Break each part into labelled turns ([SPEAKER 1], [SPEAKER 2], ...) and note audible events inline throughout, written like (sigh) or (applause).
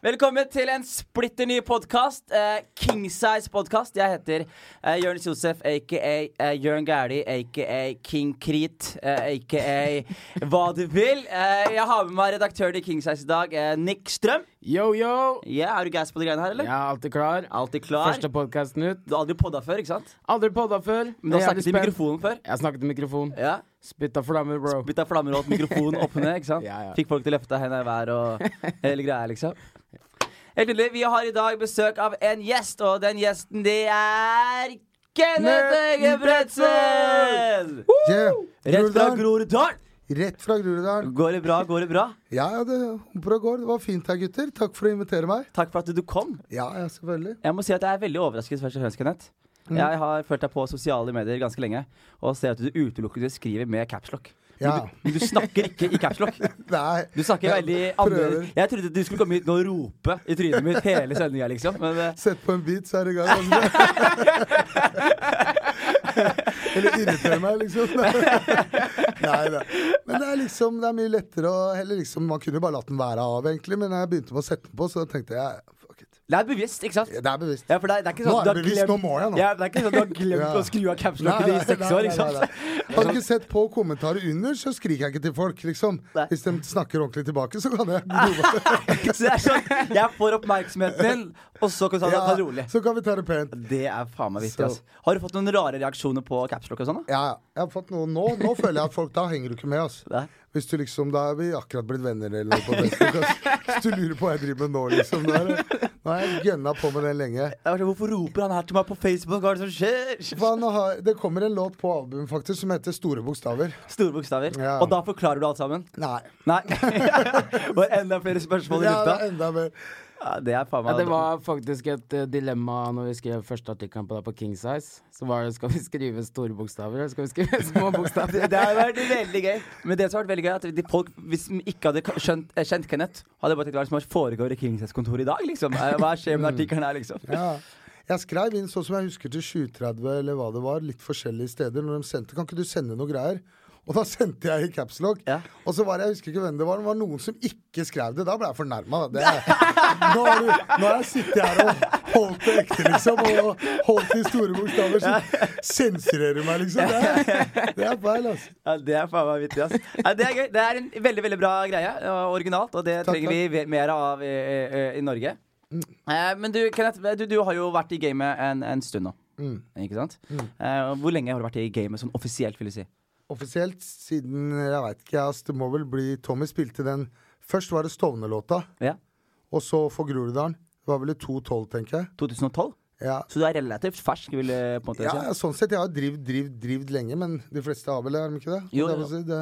[SPEAKER 1] Velkommen til en splitter ny podkast. Eh, Kingsize-podkast. Jeg heter eh, Jonis Josef, aka eh, Jørn Gæli, aka King Krit, eh, aka hva du vil. Eh, jeg har med meg redaktøren i Kingsize i dag, eh, Nick Strøm.
[SPEAKER 2] Yo, yo!
[SPEAKER 1] Ja, Er du gass på de greiene her,
[SPEAKER 2] Jeg
[SPEAKER 1] eller?
[SPEAKER 2] er alltid klar.
[SPEAKER 1] Alltid klar?
[SPEAKER 2] Første podkasten ut.
[SPEAKER 1] Du har aldri podda før, ikke sant?
[SPEAKER 2] Aldri podda før.
[SPEAKER 1] Men du
[SPEAKER 2] Jeg
[SPEAKER 1] har
[SPEAKER 2] er jævlig
[SPEAKER 1] snakket i
[SPEAKER 2] spent.
[SPEAKER 1] mikrofonen før.
[SPEAKER 2] Jeg snakket i mikrofon.
[SPEAKER 1] Ja
[SPEAKER 2] Spytta flammer, bro.
[SPEAKER 1] Bytta flammer og holdt mikrofonen opp og ned. ikke sant?
[SPEAKER 2] Ja, ja.
[SPEAKER 1] Fikk folk til å løfte hendene i været og hele greia, liksom. Helt nydelig. Vi har i dag besøk av en gjest, og den gjesten det er Kenneth
[SPEAKER 2] Morten
[SPEAKER 1] Egebretsen!
[SPEAKER 3] Yeah.
[SPEAKER 1] Rett fra Groruddalen.
[SPEAKER 3] Groruddalen. Rett fra Groruddalen.
[SPEAKER 1] Går det bra, går det bra?
[SPEAKER 3] Ja, ja, det humper og går. Det var fint her, gutter. Takk for å invitere meg.
[SPEAKER 1] Takk for at du kom.
[SPEAKER 3] Ja, ja, selvfølgelig.
[SPEAKER 1] Jeg må si at jeg er veldig overrasket, først og fremst, Kenneth. Jeg har følt deg på sosiale medier ganske lenge og ser at du utelukkende skriver med capslock.
[SPEAKER 3] Ja.
[SPEAKER 1] Men du snakker ikke i capslock.
[SPEAKER 3] Nei.
[SPEAKER 1] Du snakker
[SPEAKER 3] jeg
[SPEAKER 1] veldig
[SPEAKER 3] prøver.
[SPEAKER 1] annerledes. Jeg trodde du skulle komme hit nå og rope i trynet mitt hele sendinga, liksom. Men
[SPEAKER 3] (laughs)
[SPEAKER 1] eh,
[SPEAKER 3] Sett på en beat, så er det i gang.
[SPEAKER 1] (laughs)
[SPEAKER 3] Altså. Eller irritere meg, liksom. (laughs) Nei da. Men det er liksom Det er mye lettere å heller liksom Man kunne jo bare latt den være av, egentlig, men jeg begynte med å sette den på, så da tenkte jeg fuck it.
[SPEAKER 1] det er bevisst, ikke sant?
[SPEAKER 3] Det er bevisst.
[SPEAKER 1] Ja, for det er, det er ikke
[SPEAKER 3] Nå
[SPEAKER 1] sånn
[SPEAKER 3] er
[SPEAKER 1] du har
[SPEAKER 3] det bevisst, nå må jeg nå.
[SPEAKER 1] Ja, det er ikke sånn du har glemt
[SPEAKER 3] Ja.
[SPEAKER 1] å skru av capslocket i seks år, ikke sant?
[SPEAKER 3] Har du ikke sett på kommentarer under, så skriker jeg ikke til folk, liksom.
[SPEAKER 1] Nei.
[SPEAKER 3] Hvis de snakker ordentlig tilbake, så
[SPEAKER 1] (laughs)
[SPEAKER 3] kan jeg roe meg.
[SPEAKER 1] (laughs) Så det er sånn Jeg får oppmerksomheten din, og så kan du ta ta det rolig.
[SPEAKER 3] så kan vi ta det pent.
[SPEAKER 1] Det er faen meg vittig,
[SPEAKER 3] Så-
[SPEAKER 1] altså. Har du fått noen rare reaksjoner på capslock og sånn, da?
[SPEAKER 3] Ja, ja. jeg har fått noe nå. Nå føler jeg at folk Da henger du ikke med, altså.
[SPEAKER 1] Nei.
[SPEAKER 3] Hvis du liksom, Da er vi akkurat blitt venner
[SPEAKER 1] (laughs)
[SPEAKER 3] eller noe på Facebook. Altså. Hvis du lurer på hva jeg driver med nå, liksom. Nå, er det, nå har jeg gønna på med den lenge.
[SPEAKER 1] Jeg vet ikke, sånn, Hvorfor roper han her til meg på Facebook? Hva er det som skjer? (laughs)
[SPEAKER 3] Faen, nå har, det kommer en låt på albumet faktisk som heter Store bokstaver.
[SPEAKER 1] Store bokstaver.
[SPEAKER 3] Ja.
[SPEAKER 1] Og da forklarer du alt sammen?
[SPEAKER 3] Nei.
[SPEAKER 1] Nei. (laughs) Var enda flere spørsmål i
[SPEAKER 3] Ja, det er
[SPEAKER 1] lufta?
[SPEAKER 3] enda mer.
[SPEAKER 1] Ja, det er faen
[SPEAKER 2] Ja,
[SPEAKER 1] meg
[SPEAKER 2] det var faktisk et eh, dilemma når vi skrev første artikkelen på deg på King Size. Så var det skal vi skrive store bokstaver, eller skal vi skrive (laughs) små bokstaver?
[SPEAKER 1] Det det har vært veldig gøy. Men det som har vært veldig gøy, er at de folk, hvis de ikke hadde ka- skjønt, eh, kjent Kenneth, hadde bare tenkt hva er det som foregår i Kingsets kontor i dag, liksom? Eh, Hva skjer med den artikkelen her, liksom?
[SPEAKER 3] Ja. (laughs) Jeg skrev inn sånn som jeg husker til 7.30 eller hva det var, litt forskjellige steder når de sendte. Kan ikke du sende noe greier? Og da (laughs) sendte jeg i capslock.
[SPEAKER 1] Ja.
[SPEAKER 3] Og så var det, jeg husker ikke hvem det var, det var noen som ikke skrev det. Da ble jeg fornærma. Nå har du- nå har jeg sittet her og holdt det ekte, liksom. Og holdt de store bokstaver. Så sensurerer du meg, liksom. Det er, det er feil, altså.
[SPEAKER 1] Ja, det er faen meg vittig, ass. Ja, det er gøy. Det er en veldig, veldig bra greie. og Originalt. Og det
[SPEAKER 3] Takk,
[SPEAKER 1] trenger vi
[SPEAKER 3] takk.
[SPEAKER 1] ve- mer av i, i, i Norge. Eh, Men du, Kenneth, du, du har jo vært i gamet en, en stund nå. Ikke sant? Eh, Hvor lenge har du vært i gamet sånn offisielt, vil du si?
[SPEAKER 3] Offisielt siden Jeg veit ikke, ass. Det må vel bli Tommy spilte den Først var det Stovner-låta,
[SPEAKER 1] Ja.
[SPEAKER 3] og så for Groruddalen. Det var vel i 2.12, tenker jeg.
[SPEAKER 1] 2012?
[SPEAKER 3] Ja.
[SPEAKER 1] Så du er relativt fersk, vil jeg på en måte
[SPEAKER 3] Ja,
[SPEAKER 1] si.
[SPEAKER 3] ja, sånn sett. Jeg har drivd, drivd, drivd lenge, men de fleste har vel det, har de ikke det?
[SPEAKER 1] Jo,
[SPEAKER 3] det,
[SPEAKER 1] jo.
[SPEAKER 3] vil si, det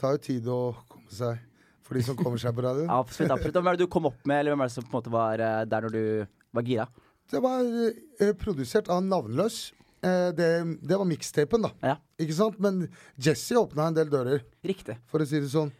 [SPEAKER 3] tar jo tid å komme seg For de som kommer seg på
[SPEAKER 1] (laughs)
[SPEAKER 3] radio.
[SPEAKER 1] Absolutt. absolutt. Og Hvem er det du kom opp med, eller hvem er det som på en måte var eh, der når du var gira?
[SPEAKER 3] Det var eh, produsert av Navnløs. Eh, det, det var mixtapen, da.
[SPEAKER 1] Ja,
[SPEAKER 3] Ikke sant? Men Jesse åpna en del dører,
[SPEAKER 1] riktig.
[SPEAKER 3] for å si det sånn.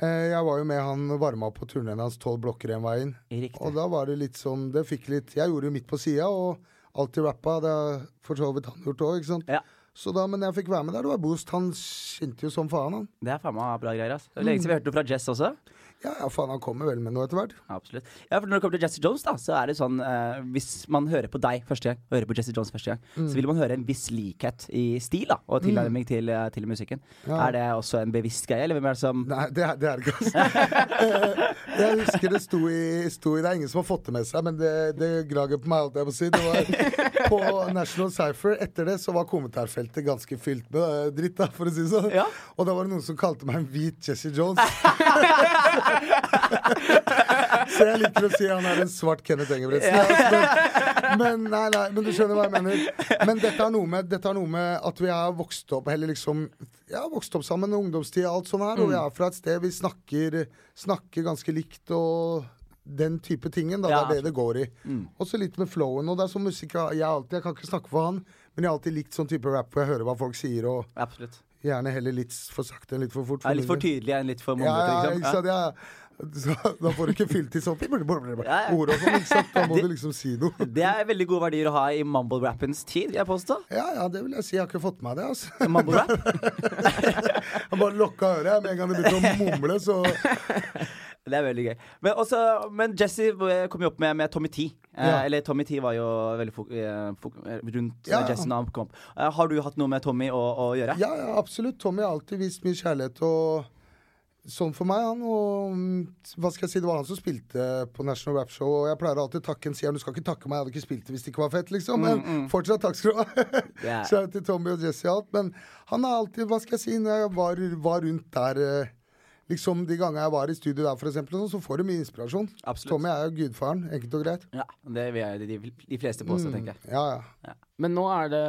[SPEAKER 3] Eh, jeg var jo med han og varma opp på turneen hans 12 blokker en vei inn.
[SPEAKER 1] Riktig.
[SPEAKER 3] Og da var det litt sånn Det fikk litt Jeg gjorde jo midt på sida, og alltid rappa. Det har for så vidt han gjort òg, ikke sant.
[SPEAKER 1] Ja.
[SPEAKER 3] Så da, men jeg fikk være med der. Det var Boost. Han skinte jo som faen, han.
[SPEAKER 1] Det er faen meg bra greier. ass. Det er
[SPEAKER 3] Mm.
[SPEAKER 1] Lenge siden vi hørte noe fra Jess også.
[SPEAKER 3] Ja, ja, faen, han kommer vel med noe etter hvert.
[SPEAKER 1] Absolutt. Ja, for Når det kommer til Jesse Jones, da, så er det sånn eh, Hvis man hører på deg første gang, og hører på Jesse Jones første gang,
[SPEAKER 3] Mm.
[SPEAKER 1] så vil man høre en viss likhet i stil da, og tilnærming til, eh, til musikken.
[SPEAKER 3] Ja.
[SPEAKER 1] Er det også en bevisst greie, eller hvem er det som
[SPEAKER 3] Nei, det er det er ikke, altså. (laughs) Eh, jeg husker det sto i, sto i Det er ingen som har fått det med seg, men det, det gnager på meg, holdt jeg på å si. Det var på National Cypher. Etter det så var kommentarfeltet ganske fylt med eh, dritt, da, for å si det sånn.
[SPEAKER 1] Ja.
[SPEAKER 3] Og da var det noen som kalte meg en hvit Jesse Jones. (laughs) så jeg liker å si han er en svart Kenneth Engebretsen. altså, men, men nei, nei, men du skjønner hva jeg mener. Men dette har noe med, dette har noe med at vi har vokst opp Eller liksom Jeg har vokst opp sammen i ungdomstida og alt sånt her.
[SPEAKER 1] Mm.
[SPEAKER 3] Og vi er fra et sted vi snakker, snakker ganske likt og den type tingen. Da,
[SPEAKER 1] Ja. Mm.
[SPEAKER 3] Det er det det går i. Og så litt med flowen. Og det er sånn musikk jeg, jeg alltid Jeg kan ikke snakke for han, men jeg har alltid likt sånn type rap hvor jeg hører hva folk sier, og
[SPEAKER 1] Absolutt.
[SPEAKER 3] gjerne heller litt for sakte enn litt for fort.
[SPEAKER 1] Er litt
[SPEAKER 3] min
[SPEAKER 1] for
[SPEAKER 3] del.
[SPEAKER 1] tydelig enn litt for
[SPEAKER 3] Ja,
[SPEAKER 1] mumlete,
[SPEAKER 3] ja,
[SPEAKER 1] liksom?
[SPEAKER 3] ikke sant, ja. Så, da får du ikke fylt i
[SPEAKER 1] (laughs)
[SPEAKER 3] sånn
[SPEAKER 1] Ja, ja.
[SPEAKER 3] ord og sånn. ikke sant? Da må du liksom si noe.
[SPEAKER 1] Det er veldig gode verdier å ha i mumble-rappens tid, vil jeg påstå.
[SPEAKER 3] Ja, ja, det vil jeg si. Jeg har ikke fått med meg det. altså. (laughs)
[SPEAKER 1] Mumble-rap.
[SPEAKER 3] Jeg bare lokka øret. jeg, Med en gang det begynte å mumle, så
[SPEAKER 1] Det er veldig gøy. Men, også, men Jesse eh, kom jo opp med, med Tommy T. Eh,
[SPEAKER 3] Ja.
[SPEAKER 1] Eller Tommy T var jo veldig fok eh, fok eh, rundt
[SPEAKER 3] Ja,
[SPEAKER 1] ja,
[SPEAKER 3] ja.
[SPEAKER 1] Jesse da han kom. opp. Eh, har du hatt noe med Tommy å, å gjøre?
[SPEAKER 3] Ja, ja, absolutt. Tommy har alltid vist mye kjærlighet og sånn for meg, han. Og mm, hva skal jeg si, det var han som spilte på National Rap Show, og jeg pleier alltid å takke en sier du skal ikke takke meg, jeg hadde ikke spilt det hvis det ikke var fett, liksom. Men fortsatt takk skal du ha.
[SPEAKER 1] Mm, (laughs) Ja.
[SPEAKER 3] Så jeg til Tommy og Jesse og alt. Men han har alltid, hva skal jeg si, når jeg var, var rundt der eh, Liksom De gangene jeg var i studio der, for eksempel, og sånn, så får du mye inspirasjon.
[SPEAKER 1] Absolutt.
[SPEAKER 3] Tommy er jo gudfaren, enkelt og greit.
[SPEAKER 1] Ja, det vil jeg, de, de fleste påstå,
[SPEAKER 3] Mm.
[SPEAKER 1] tenker jeg.
[SPEAKER 3] Ja, ja.
[SPEAKER 2] Men nå er det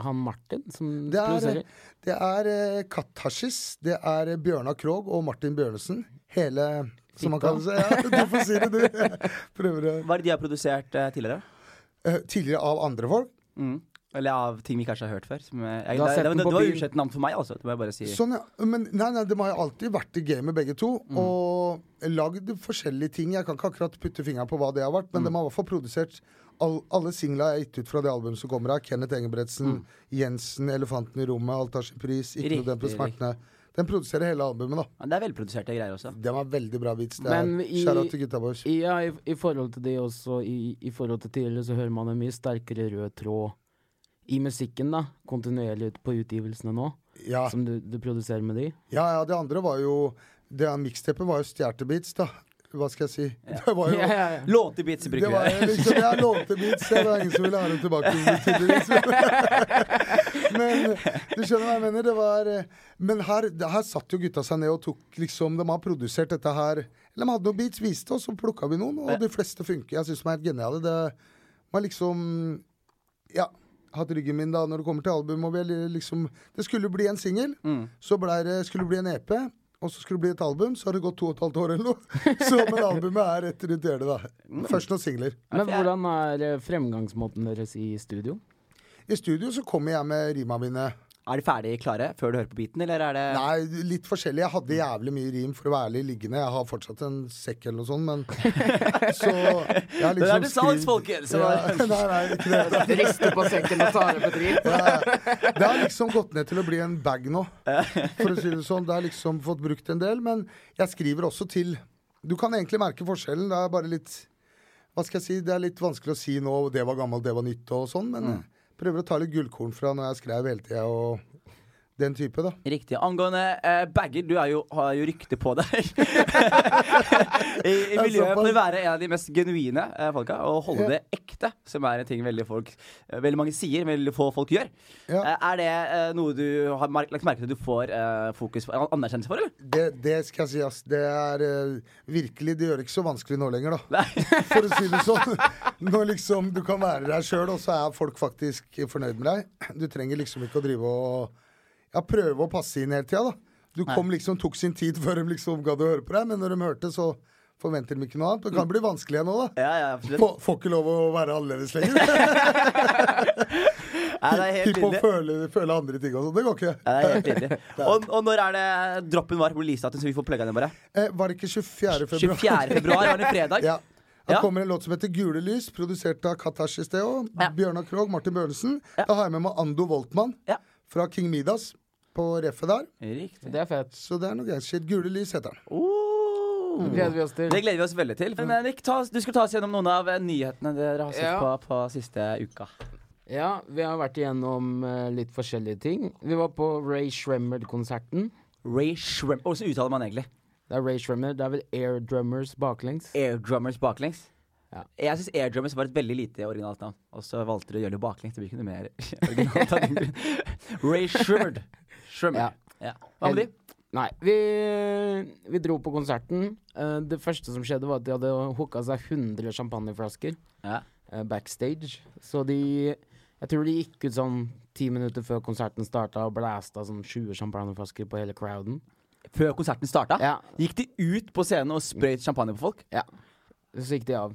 [SPEAKER 2] han Martin som
[SPEAKER 3] Det er,
[SPEAKER 2] produserer.
[SPEAKER 3] det er eh, Kattashis, det er eh, Bjørnar Krogh og Martin Bjørnesen. Hele som man kaller seg. Ja, du får si det,
[SPEAKER 1] (laughs)
[SPEAKER 3] du. Prøver å
[SPEAKER 1] Hva er det de har produsert eh, tidligere?
[SPEAKER 3] Eh, Tidligere av andre folk.
[SPEAKER 1] Mm. Eller av ting vi kanskje har hørt før. Som, eh, jeg,
[SPEAKER 2] Du har
[SPEAKER 1] det,
[SPEAKER 2] sett
[SPEAKER 1] det,
[SPEAKER 2] den
[SPEAKER 1] det,
[SPEAKER 2] på
[SPEAKER 1] det var
[SPEAKER 2] bil.
[SPEAKER 1] ukjent navn for meg, altså. Det må jeg bare si.
[SPEAKER 3] Sånn, ja. Men nei, nei, de har jo alltid vært i gamet, begge to.
[SPEAKER 1] Mm.
[SPEAKER 3] Og lagd forskjellige ting. Jeg kan ikke akkurat putte fingeren på hva det har vært,
[SPEAKER 1] Mm.
[SPEAKER 3] men de har i hvert fall produsert all, alle singla jeg har gitt ut fra det albumet som kommer her. Kenneth Engebretsen, Jensen, 'Elefanten i rommet', 'Alt har sin pris', 'Ikke noe den på
[SPEAKER 1] Mm. Riktig,
[SPEAKER 3] smertene'. Den produserer hele albumet, da.
[SPEAKER 1] Ja, det er velproduserte greier også.
[SPEAKER 3] Den var veldig bra vits. Det
[SPEAKER 2] Men
[SPEAKER 3] er
[SPEAKER 2] i-
[SPEAKER 3] Shout-out til gutta boys.
[SPEAKER 2] I- Ja, i, i forhold til det også, i, i forhold til tidligere, så hører man en mye sterkere rød tråd i musikken, da. Kontinuerlig ut på utgivelsene nå,
[SPEAKER 1] Ah.
[SPEAKER 3] Ja,
[SPEAKER 2] som du, du produserer med de.
[SPEAKER 3] ja, ja, det andre var jo Det miksteppet var jo Stjertebeats, da. Hva skal jeg si? Det var jo
[SPEAKER 2] Ja, ja, ja.
[SPEAKER 1] Låtebeats
[SPEAKER 3] det
[SPEAKER 1] bruker
[SPEAKER 3] var
[SPEAKER 1] vi. (laughs)
[SPEAKER 3] jo liksom, Jeg lånte beats, det var ingen som ville ha dem tilbake.
[SPEAKER 2] (laughs)
[SPEAKER 3] tydeligvis. Men du skjønner hva jeg mener. Det var eh, Men her, det- her satt jo gutta seg ned og tok liksom De har produsert dette her. Eller de hadde noen beats, viste oss, og plukka vi noen. Og de fleste funker. Jeg syns de er helt geniale. Det var liksom Ja. Hatt ryggen min da når det kommer til album. Og vi liksom, det skulle bli en singel.
[SPEAKER 1] Mm.
[SPEAKER 3] Så ble det, skulle det bli en EP. Og så skulle det bli et album. Så har det gått to og et halvt år eller noe.
[SPEAKER 1] (laughs)
[SPEAKER 3] Så men albumet er rett rundt hjørnet, da.
[SPEAKER 1] Mm.
[SPEAKER 3] Først noen singler.
[SPEAKER 1] for
[SPEAKER 2] Men
[SPEAKER 1] jeg-
[SPEAKER 2] hvordan er eh, fremgangsmåten deres i studio?
[SPEAKER 3] I studio så kommer jeg med rima mine.
[SPEAKER 1] Er de ferdig klare før du hører på beaten, eller er det
[SPEAKER 3] Nei, litt forskjellig. Jeg hadde jævlig mye rim for å være ærlig liggende. Jeg har fortsatt en sekk eller noe sånt, men
[SPEAKER 1] (laughs)
[SPEAKER 3] Så jeg har
[SPEAKER 1] Det er
[SPEAKER 3] liksom
[SPEAKER 1] det salgs,
[SPEAKER 3] skrevet-
[SPEAKER 1] folkens! Så-
[SPEAKER 3] Ja, (laughs) nei, nei,
[SPEAKER 1] (laughs)
[SPEAKER 3] ikke det.
[SPEAKER 2] Rister på sekken og tar opp et rim.
[SPEAKER 3] Ja, ja. Det har liksom gått ned til å bli en bag nå, for å si det sånn. Det har liksom fått brukt en del, men jeg skriver også til Du kan egentlig merke forskjellen, det er bare litt Hva skal jeg si, det er litt vanskelig å si nå, det var gammelt, det var nytt og sånn, men jeg prøver å ta litt gullkorn fra når jeg skrev hele tida og den type, da.
[SPEAKER 1] Riktig. Angående eh, bager, du er jo, har jo rykte på deg. (laughs) I, I miljøet
[SPEAKER 3] såpass.
[SPEAKER 1] for å være en av de mest genuine eh, folka, og holde det ekte, som er en ting veldig, folk, eh, veldig mange sier, men veldig få folk gjør.
[SPEAKER 3] Ja.
[SPEAKER 1] Eh, er det eh, noe du har mer lagt merke til at du får eh, fokus for, anerkjennelse for, eller?
[SPEAKER 3] Det, det skal jeg si, ass. Det er eh, virkelig Det gjør det ikke så vanskelig nå lenger, da.
[SPEAKER 1] Nei.
[SPEAKER 3] (laughs) For å si det sånn. Når liksom du kan være deg sjøl, og så er folk faktisk fornøyd med deg. Du trenger liksom ikke å drive og ja, prøve å passe inn hele tida, da. Du kom liksom, tok sin tid før de liksom gadd å høre på deg, men når de hørte, så forventer de ikke noe annet. Det
[SPEAKER 1] Mm.
[SPEAKER 3] kan bli vanskelig igjen nå, da.
[SPEAKER 1] Ja, ja, absolutt.
[SPEAKER 3] Få- Får ikke lov å være annerledes
[SPEAKER 1] (laughs)
[SPEAKER 3] lenger.
[SPEAKER 1] Nei, det er helt
[SPEAKER 3] Typ å
[SPEAKER 1] nydelig.
[SPEAKER 3] føle, føle andre ting og sånn. Det går ikke.
[SPEAKER 1] Ja, (laughs) det er helt nydelig. Og, og når er det droppen var releaset, så vi får plugga den bare?
[SPEAKER 3] Eh, var det ikke 24. februar?
[SPEAKER 1] 24. februar, var det fredag?
[SPEAKER 3] Ja. Her
[SPEAKER 1] (laughs) Ja.
[SPEAKER 3] kommer en låt som heter 'Gule lys', produsert av Katash i sted òg.
[SPEAKER 1] Ja.
[SPEAKER 3] Bjørnar Krogh, Martin Børnesen. Da har jeg med meg Ando Voltmann
[SPEAKER 1] Ja.
[SPEAKER 3] fra King Midas på reffet der.
[SPEAKER 1] Riktig.
[SPEAKER 2] Det er fett.
[SPEAKER 3] Så det er noe gøy shit. 'Gule lys' heter den.
[SPEAKER 1] Oh.
[SPEAKER 2] Det gleder vi oss til.
[SPEAKER 1] Det gleder vi oss veldig til. Men Henrik, ta, oss- du skulle ta oss gjennom noen av eh, nyhetene dere har sett
[SPEAKER 2] Ja.
[SPEAKER 1] på på siste uka.
[SPEAKER 2] Ja, vi har vært igjennom eh, litt forskjellige ting. Vi var på Ray Shremmerd-konserten.
[SPEAKER 1] Ray Shrem... Hvordan uttaler man egentlig?
[SPEAKER 2] Det er Ray Shremmerd. Det er vel Air Drummers baklengs.
[SPEAKER 1] Airdrummers baklengs?
[SPEAKER 2] Ja.
[SPEAKER 1] Jeg syns Airdrummers var et veldig lite originalt navn. Og så valgte du å gjøre det baklengs. Det blir ikke noe mer (laughs) originalt. av den grunn.
[SPEAKER 2] (laughs)
[SPEAKER 1] Ray Shrimmered.
[SPEAKER 2] Ja.
[SPEAKER 1] Shrimmered. Ja. Hva med de?
[SPEAKER 2] Nei, vi, vi dro på konserten. Eh, det første som skjedde, var at de hadde hooka seg 100 champagneflasker
[SPEAKER 1] Ja.
[SPEAKER 2] eh, backstage. Så de Jeg tror de gikk ut sånn ti minutter før konserten starta og blæsta sånn 20 champagneflasker på hele crowden.
[SPEAKER 1] Før konserten starta,
[SPEAKER 2] Ja.
[SPEAKER 1] gikk de ut på scenen og sprøyt champagne på folk.
[SPEAKER 2] Ja. Så gikk de av.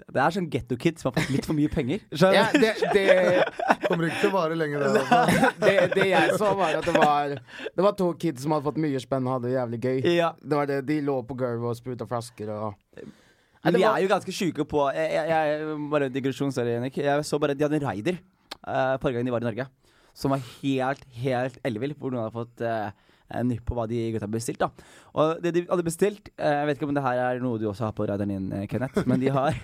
[SPEAKER 1] Det er sånn Getto Kids som har fått litt for mye penger.
[SPEAKER 2] (laughs) Ja,
[SPEAKER 1] Skjønner du?
[SPEAKER 2] det, det
[SPEAKER 3] Kommer ikke til å vare lenge,
[SPEAKER 1] (laughs)
[SPEAKER 3] det. altså.
[SPEAKER 2] det, det jeg så, var at det var Det var to kids som hadde fått mye spenn og hadde det jævlig gøy.
[SPEAKER 1] Ja.
[SPEAKER 2] Det var det, De lå på gulvet og spruta flasker og
[SPEAKER 1] Men
[SPEAKER 2] det
[SPEAKER 1] vi
[SPEAKER 2] var-
[SPEAKER 1] er jo ganske sjuke på jeg, jeg, jeg, Bare digresjon, sorry, Henrik. Jeg så bare de hadde en raider eh, forrige gang de var i Norge. som var helt, helt ellevill, hvor noen hadde fått eh, en nypp på hva de gutta hadde bestilt. da. Og det de hadde bestilt eh, Jeg vet ikke om det her er noe du også har på radaren din, eh, Kenneth, men de har (laughs)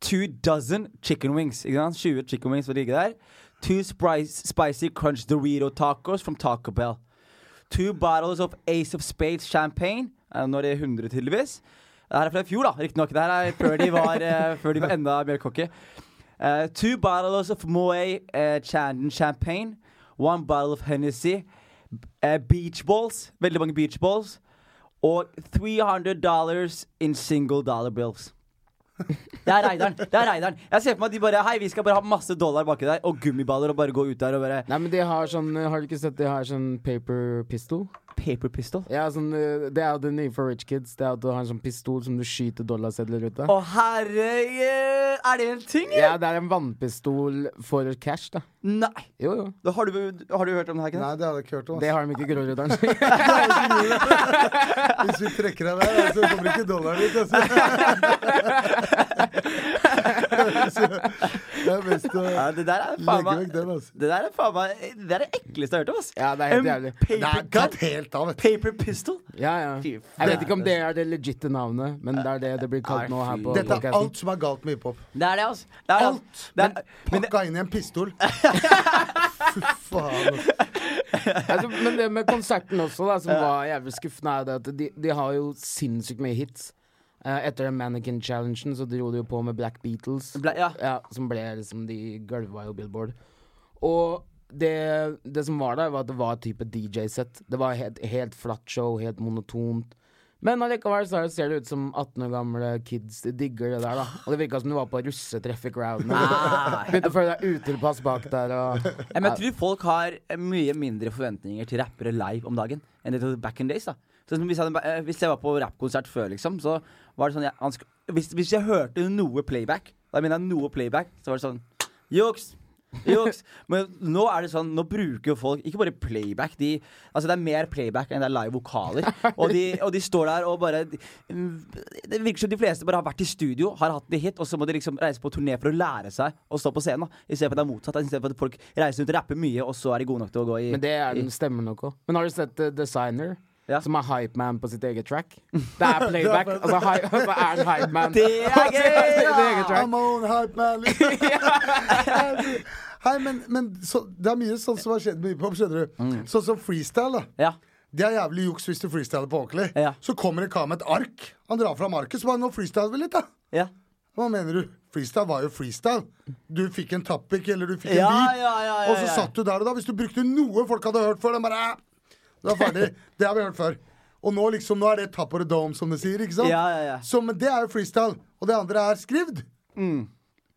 [SPEAKER 1] two dozen chicken wings. ikke sant? 20 chicken wings vil ligge der. Two spice, spicy crunch Dorito tacos from Taco Bell. Two bottles of Ace of Spades champagne. Eh, Nå er det 100, tydeligvis. Det her er fra i fjor, da, riktignok. Det her er før de var, (laughs) eh, før de var enda mer cocky. Eh, two bottles of Moët eh, Chandon champagne. One bottle of Hennessy. Eh, beach balls. Veldig mange beach balls. Og 300 dollars in single dollar bills. Det er Reidaren. det er Reidaren Jeg ser for meg at de bare Hei, vi skal bare ha masse dollar baki der, og gummiballer, og bare gå ut der og bare
[SPEAKER 2] Nei, men de har sånn Har du ikke sett de har sånn paper pistol?
[SPEAKER 1] Paper pistol.
[SPEAKER 2] Ja, sånn, eh, Det er jo det nye for rich kids. Det er at du har en sånn pistol som du skyter dollarsedler ut av.
[SPEAKER 1] Å herre Er det en ting, eller?
[SPEAKER 2] Ja, det er en vannpistol for cash, da.
[SPEAKER 1] Nei.
[SPEAKER 2] Jo, jo.
[SPEAKER 1] Da Har du, har du hørt om det her, Kenneth?
[SPEAKER 3] Nei, det hadde jeg ikke hørt om.
[SPEAKER 2] Det
[SPEAKER 3] ass.
[SPEAKER 2] har de ikke i Gråruddalen.
[SPEAKER 3] Hvis vi trekker deg der, altså, så kommer ikke dollaren ut. Altså. (laughs) så, det er best å
[SPEAKER 1] Ja, det der er faen
[SPEAKER 3] legge
[SPEAKER 1] meg
[SPEAKER 3] vekk den. Altså.
[SPEAKER 1] Det der er faen meg Det der er det ekleste jeg har hørt om, ass.
[SPEAKER 2] Ja, det er helt
[SPEAKER 1] En
[SPEAKER 2] jævlig.
[SPEAKER 3] Det er
[SPEAKER 1] Paper
[SPEAKER 3] tatt
[SPEAKER 1] gun?
[SPEAKER 3] helt av, vet du.
[SPEAKER 1] Paper pistol?
[SPEAKER 2] Ja, ja.
[SPEAKER 1] Fy
[SPEAKER 2] Jeg vet ikke om det er det legitte navnet, men det er det det blir kalt nå her på
[SPEAKER 3] Dette er
[SPEAKER 2] podcasten.
[SPEAKER 3] alt som er galt med hiphop.
[SPEAKER 1] Det er det, altså. Det er det, ass.
[SPEAKER 3] Alt!
[SPEAKER 1] Det
[SPEAKER 3] Men
[SPEAKER 1] er, (laughs) men det,
[SPEAKER 3] pakka inn i en
[SPEAKER 1] (laughs)
[SPEAKER 3] pistol. Fy faen. ass.
[SPEAKER 2] Altså, men det med konserten også, da, som
[SPEAKER 1] Ja.
[SPEAKER 2] var jævlig skuffende, er jo det at de, de har jo sinnssykt mye hits. Eh, etter den Mannequin Challengen så dro de jo på med Black Beatles,
[SPEAKER 1] ble, ja.
[SPEAKER 2] ja, som ble liksom De gulva jo Billboard. Og det, det som var der, var at det var et type DJ-sett. Det var helt, helt flatt show, helt monotont. Men allikevel så er det- ser det ut som 18 år gamle kids de digger det der, da. Og det virka som du var på russetreff i crowden.
[SPEAKER 1] (laughs) Ah.
[SPEAKER 2] Begynte å føle deg utilpass bak der og
[SPEAKER 1] Ja, men jeg tror folk har eh, mye mindre forventninger til rappere live om dagen enn det til back in days. da Sånn som hvis, jeg, hadde- eh, hvis jeg var på rappkonsert før, liksom, så var det sånn jeg, han sk- hvis, hvis jeg hørte noe playback, da mener jeg noe playback, så var det sånn Juks! Juks! (laughs) Men nå er det sånn, nå bruker jo folk ikke bare playback. De, altså Det er mer playback enn det er live vokaler.
[SPEAKER 2] (laughs)
[SPEAKER 1] Og de, og de står der og bare Det virker som de fleste bare har vært i studio, har hatt det hit, og så må de liksom reise på turné for å lære seg å stå på scenen. da Istedenfor at det er motsatt. Istedenfor at folk reiser rundt og rapper mye, og så er de gode nok til å gå i
[SPEAKER 2] Men det er den stemmer nok òg. Men har du sett eh, Designer?
[SPEAKER 1] Ja.
[SPEAKER 2] Som er hypeman på sitt eget track. Det er
[SPEAKER 1] (laughs)
[SPEAKER 2] playback, og så, hy- (laughs) og så er han hypeman.
[SPEAKER 1] Det
[SPEAKER 2] (laughs)
[SPEAKER 1] er gøy!
[SPEAKER 2] Det er eget track.
[SPEAKER 3] I'm on hype
[SPEAKER 1] (laughs)
[SPEAKER 3] man. Hei, men, men så, det er mye sånn som har skjedd med hiphop, skjønner du. Sånn som freestyle, da.
[SPEAKER 1] Mm. Ja.
[SPEAKER 3] Det er jævlig juks hvis du freestyler på ordentlig.
[SPEAKER 1] Ja.
[SPEAKER 3] Så kommer en kar med et ark. Han drar fram arket, så bare nå freestyler vi litt, da.
[SPEAKER 1] Ja.
[SPEAKER 3] Hva mener du? Freestyle var jo freestyle. Du fikk en topic, eller du fikk
[SPEAKER 1] Ja,
[SPEAKER 3] en beat,
[SPEAKER 1] ja, ja, ja,
[SPEAKER 3] og så
[SPEAKER 1] ja.
[SPEAKER 3] satt du der og da. Hvis du brukte noe folk hadde hørt før, den bare "Æ, Du er ferdig. Det har vi hørt før. Og nå liksom, nå er det top of the dome, som de sier, ikke
[SPEAKER 2] Sånn.
[SPEAKER 3] sant?
[SPEAKER 1] Ja, ja, ja.
[SPEAKER 3] Så, men det er jo freestyle. Og det andre er skrivd.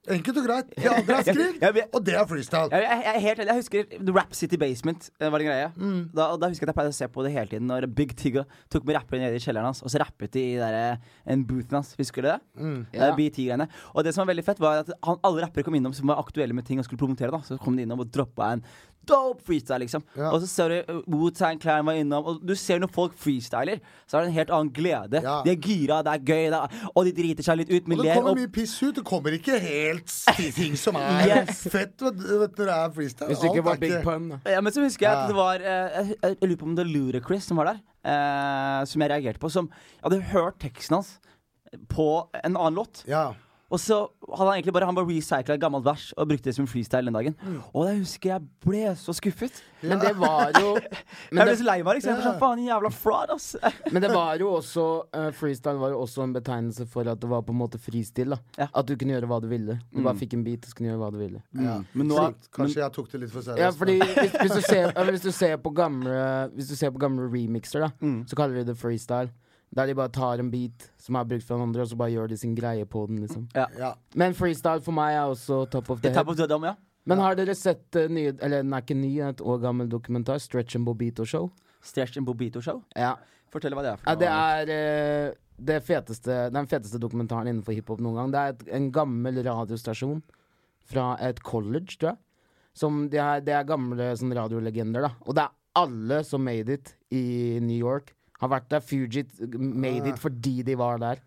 [SPEAKER 3] Enkelt og greit. Det andre er skrivd,
[SPEAKER 1] Mm. (laughs) Ja, men-
[SPEAKER 3] og det er freestyle.
[SPEAKER 1] Jeg, jeg, jeg, er helt, enig. jeg husker Rap City Basement eh, var en greie.
[SPEAKER 3] Mm.
[SPEAKER 1] Da, og da husker jeg at jeg pleide å se på det hele tiden Når Big Tigga tok med rappere nede i kjelleren hans, og så rappet de i der, eh, en boothen hans. Husker du det?
[SPEAKER 3] Mm.
[SPEAKER 1] Eh, Det er
[SPEAKER 2] Ja.
[SPEAKER 1] BT-greiene. Og det som var veldig fett, var at han, alle rappere kom innom som var aktuelle med ting og skulle promotere. da Så kom de innom og droppa en dope freestyle, liksom.
[SPEAKER 3] Ja.
[SPEAKER 1] Og så ser du eh, Wu-Tang Clan var innom, og du ser når folk freestyler, så er det en helt annen glede.
[SPEAKER 3] Ja.
[SPEAKER 1] De er gira, det er gøy, det er, og de driter seg litt ut, men
[SPEAKER 3] Og det
[SPEAKER 1] ler.
[SPEAKER 3] kommer
[SPEAKER 1] Og,
[SPEAKER 3] mye piss ut. Det kommer ikke helt s-
[SPEAKER 1] (laughs)
[SPEAKER 3] ting som er
[SPEAKER 1] Yes.
[SPEAKER 3] fett vet, du, vet, du, når det er freestyle.
[SPEAKER 2] Hvis det ikke
[SPEAKER 3] Alt
[SPEAKER 2] var
[SPEAKER 3] er
[SPEAKER 2] Big
[SPEAKER 3] ikke-
[SPEAKER 2] Pun, da.
[SPEAKER 1] Ja, men så husker jeg
[SPEAKER 3] Ja.
[SPEAKER 1] at det var eh, Jeg, jeg lurer på om det var Ludacris som var der. eh, som jeg reagerte på. Som jeg hadde hørt teksten hans på en annen låt.
[SPEAKER 3] Ja.
[SPEAKER 1] Og så hadde han egentlig bare Han bare recycla et gammelt vers og brukte det som freestyle den dagen. Og jeg husker jeg ble så skuffet.
[SPEAKER 2] Men det var jo
[SPEAKER 1] (laughs) Jeg
[SPEAKER 2] men
[SPEAKER 1] ble
[SPEAKER 2] det,
[SPEAKER 1] så lei meg. liksom Jeg var sånn, Faen, jævla fraud, ass.
[SPEAKER 2] men det var jo også eh, Freestyle var jo også en betegnelse for at det var på en måte fristil. da
[SPEAKER 1] Ja. Mm.
[SPEAKER 2] At du kunne gjøre hva du ville. Du bare fikk en beat og så kunne du gjøre hva du ville.
[SPEAKER 3] Ja.
[SPEAKER 1] Men nå er-
[SPEAKER 3] Slik. Kanskje jeg tok det litt for seriøst.
[SPEAKER 2] Ja,
[SPEAKER 3] da.
[SPEAKER 2] fordi hvis, hvis, du ser, ja, hvis, du ser på gamle, hvis du ser på gamle remixer, da
[SPEAKER 1] Mm.
[SPEAKER 2] så kaller de det freestyle. Der de bare tar en beat som er brukt fra den andre, og så bare gjør de sin greie på den. liksom
[SPEAKER 3] Ja.
[SPEAKER 2] Men freestyle for meg er også top of the
[SPEAKER 1] Tap
[SPEAKER 2] head.
[SPEAKER 1] of (laughs) the Dome, ja.
[SPEAKER 2] Men har dere sett eh, nye, eller den er ikke ny, et år gammel dokumentar, Stretch and Bobito Show?
[SPEAKER 1] Stretch and Bobito Show.
[SPEAKER 2] Ja,
[SPEAKER 1] Fortell hva det er. for
[SPEAKER 2] ja det
[SPEAKER 1] noe.
[SPEAKER 2] er eh, det feteste, den feteste dokumentaren innenfor hiphop noen gang. Det er et, en gammel radiostasjon fra et college, tror jeg. Som det, er, det er gamle sånn radiolegender, da. Og det er alle som made it i New York, har vært der. Fugit made it fordi de var der.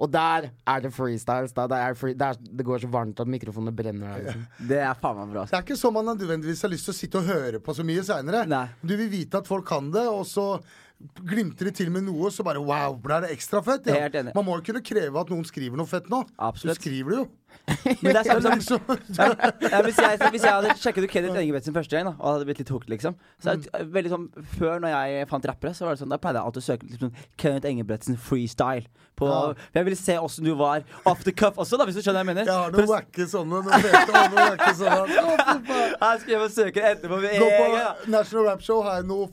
[SPEAKER 2] Og der er det freestyles. Da. Der er free, der, det går så varmt at mikrofonene brenner. Der, liksom.
[SPEAKER 1] Det er faen meg bra. ass.
[SPEAKER 3] Det er ikke sånn man nødvendigvis har lyst til å sitte og høre på så mye seinere.
[SPEAKER 1] Nei.
[SPEAKER 3] Du vil vite at folk kan det, og så glimter de til med noe, og så bare wow, ble det ekstra fett? Ja.
[SPEAKER 1] Helt enig.
[SPEAKER 3] Man må jo kunne kreve at noen skriver noe fett nå.
[SPEAKER 1] Absolutt.
[SPEAKER 3] Du skriver det jo. liksom.
[SPEAKER 1] Men det
[SPEAKER 3] (laughs)
[SPEAKER 1] er samme som
[SPEAKER 3] Så,
[SPEAKER 1] ja, ja, hvis, jeg, hvis jeg hadde sjekket ut Kenneth Engebretsen første gang, da, og hadde blitt litt hooked, liksom Så er
[SPEAKER 3] Mm.
[SPEAKER 1] det veldig sånn Før, når jeg fant rappere, så var det sånn Da pleide jeg alltid å søke liksom, Kenneth Engebretsen freestyle. På, for Jeg ville se åssen du var off the cuff også, da, hvis du skjønner hva jeg mener.
[SPEAKER 3] jeg har noen wacke sånne. Noen fete, og noen wacke sånne.
[SPEAKER 1] (laughs)
[SPEAKER 3] Å, fy faen.
[SPEAKER 1] Jeg skal hjem og søke det etterpå. med
[SPEAKER 3] Gå
[SPEAKER 1] en
[SPEAKER 3] på
[SPEAKER 1] gang, da.
[SPEAKER 3] National Rap Show har jeg noe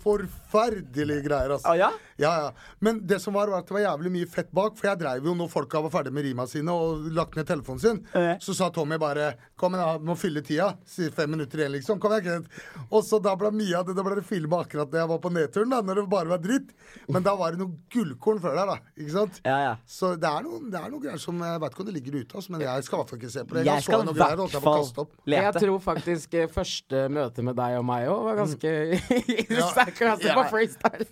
[SPEAKER 3] forferdelige greier, altså.
[SPEAKER 1] Å Ah, ja?
[SPEAKER 3] Ja, ja. Men det som var, var at det var jævlig mye fett bak. For jeg dreiv jo når folka var ferdig med rima sine og lagt ned telefonen sin.
[SPEAKER 1] Ja.
[SPEAKER 3] Så sa Tommy bare 'Kom igjen, da, må fylle tida'. Sier fem minutter igjen, liksom. Kom igjen, Kenneth. Og så da ble mye av det Da ble det filma akkurat da jeg var på nedturen, da. Når det bare var dritt. Men da var det noe gullkorn før der, da. Ikke sant?
[SPEAKER 1] Ja, ja.
[SPEAKER 3] Så det er noen, det er noen greier som Jeg vet ikke om det ligger ute, altså, men jeg skal i hvert fall ikke se på det.
[SPEAKER 1] Jeg skal i
[SPEAKER 3] og
[SPEAKER 1] hvert
[SPEAKER 3] holdt jeg på å
[SPEAKER 1] fall
[SPEAKER 3] kaste opp. (laughs)
[SPEAKER 2] Jeg
[SPEAKER 1] lete.
[SPEAKER 2] tror faktisk eh, første møte med deg og meg òg var ganske (laughs)
[SPEAKER 3] Ja.
[SPEAKER 2] sterk klasse
[SPEAKER 3] Ja.
[SPEAKER 2] på freestyle.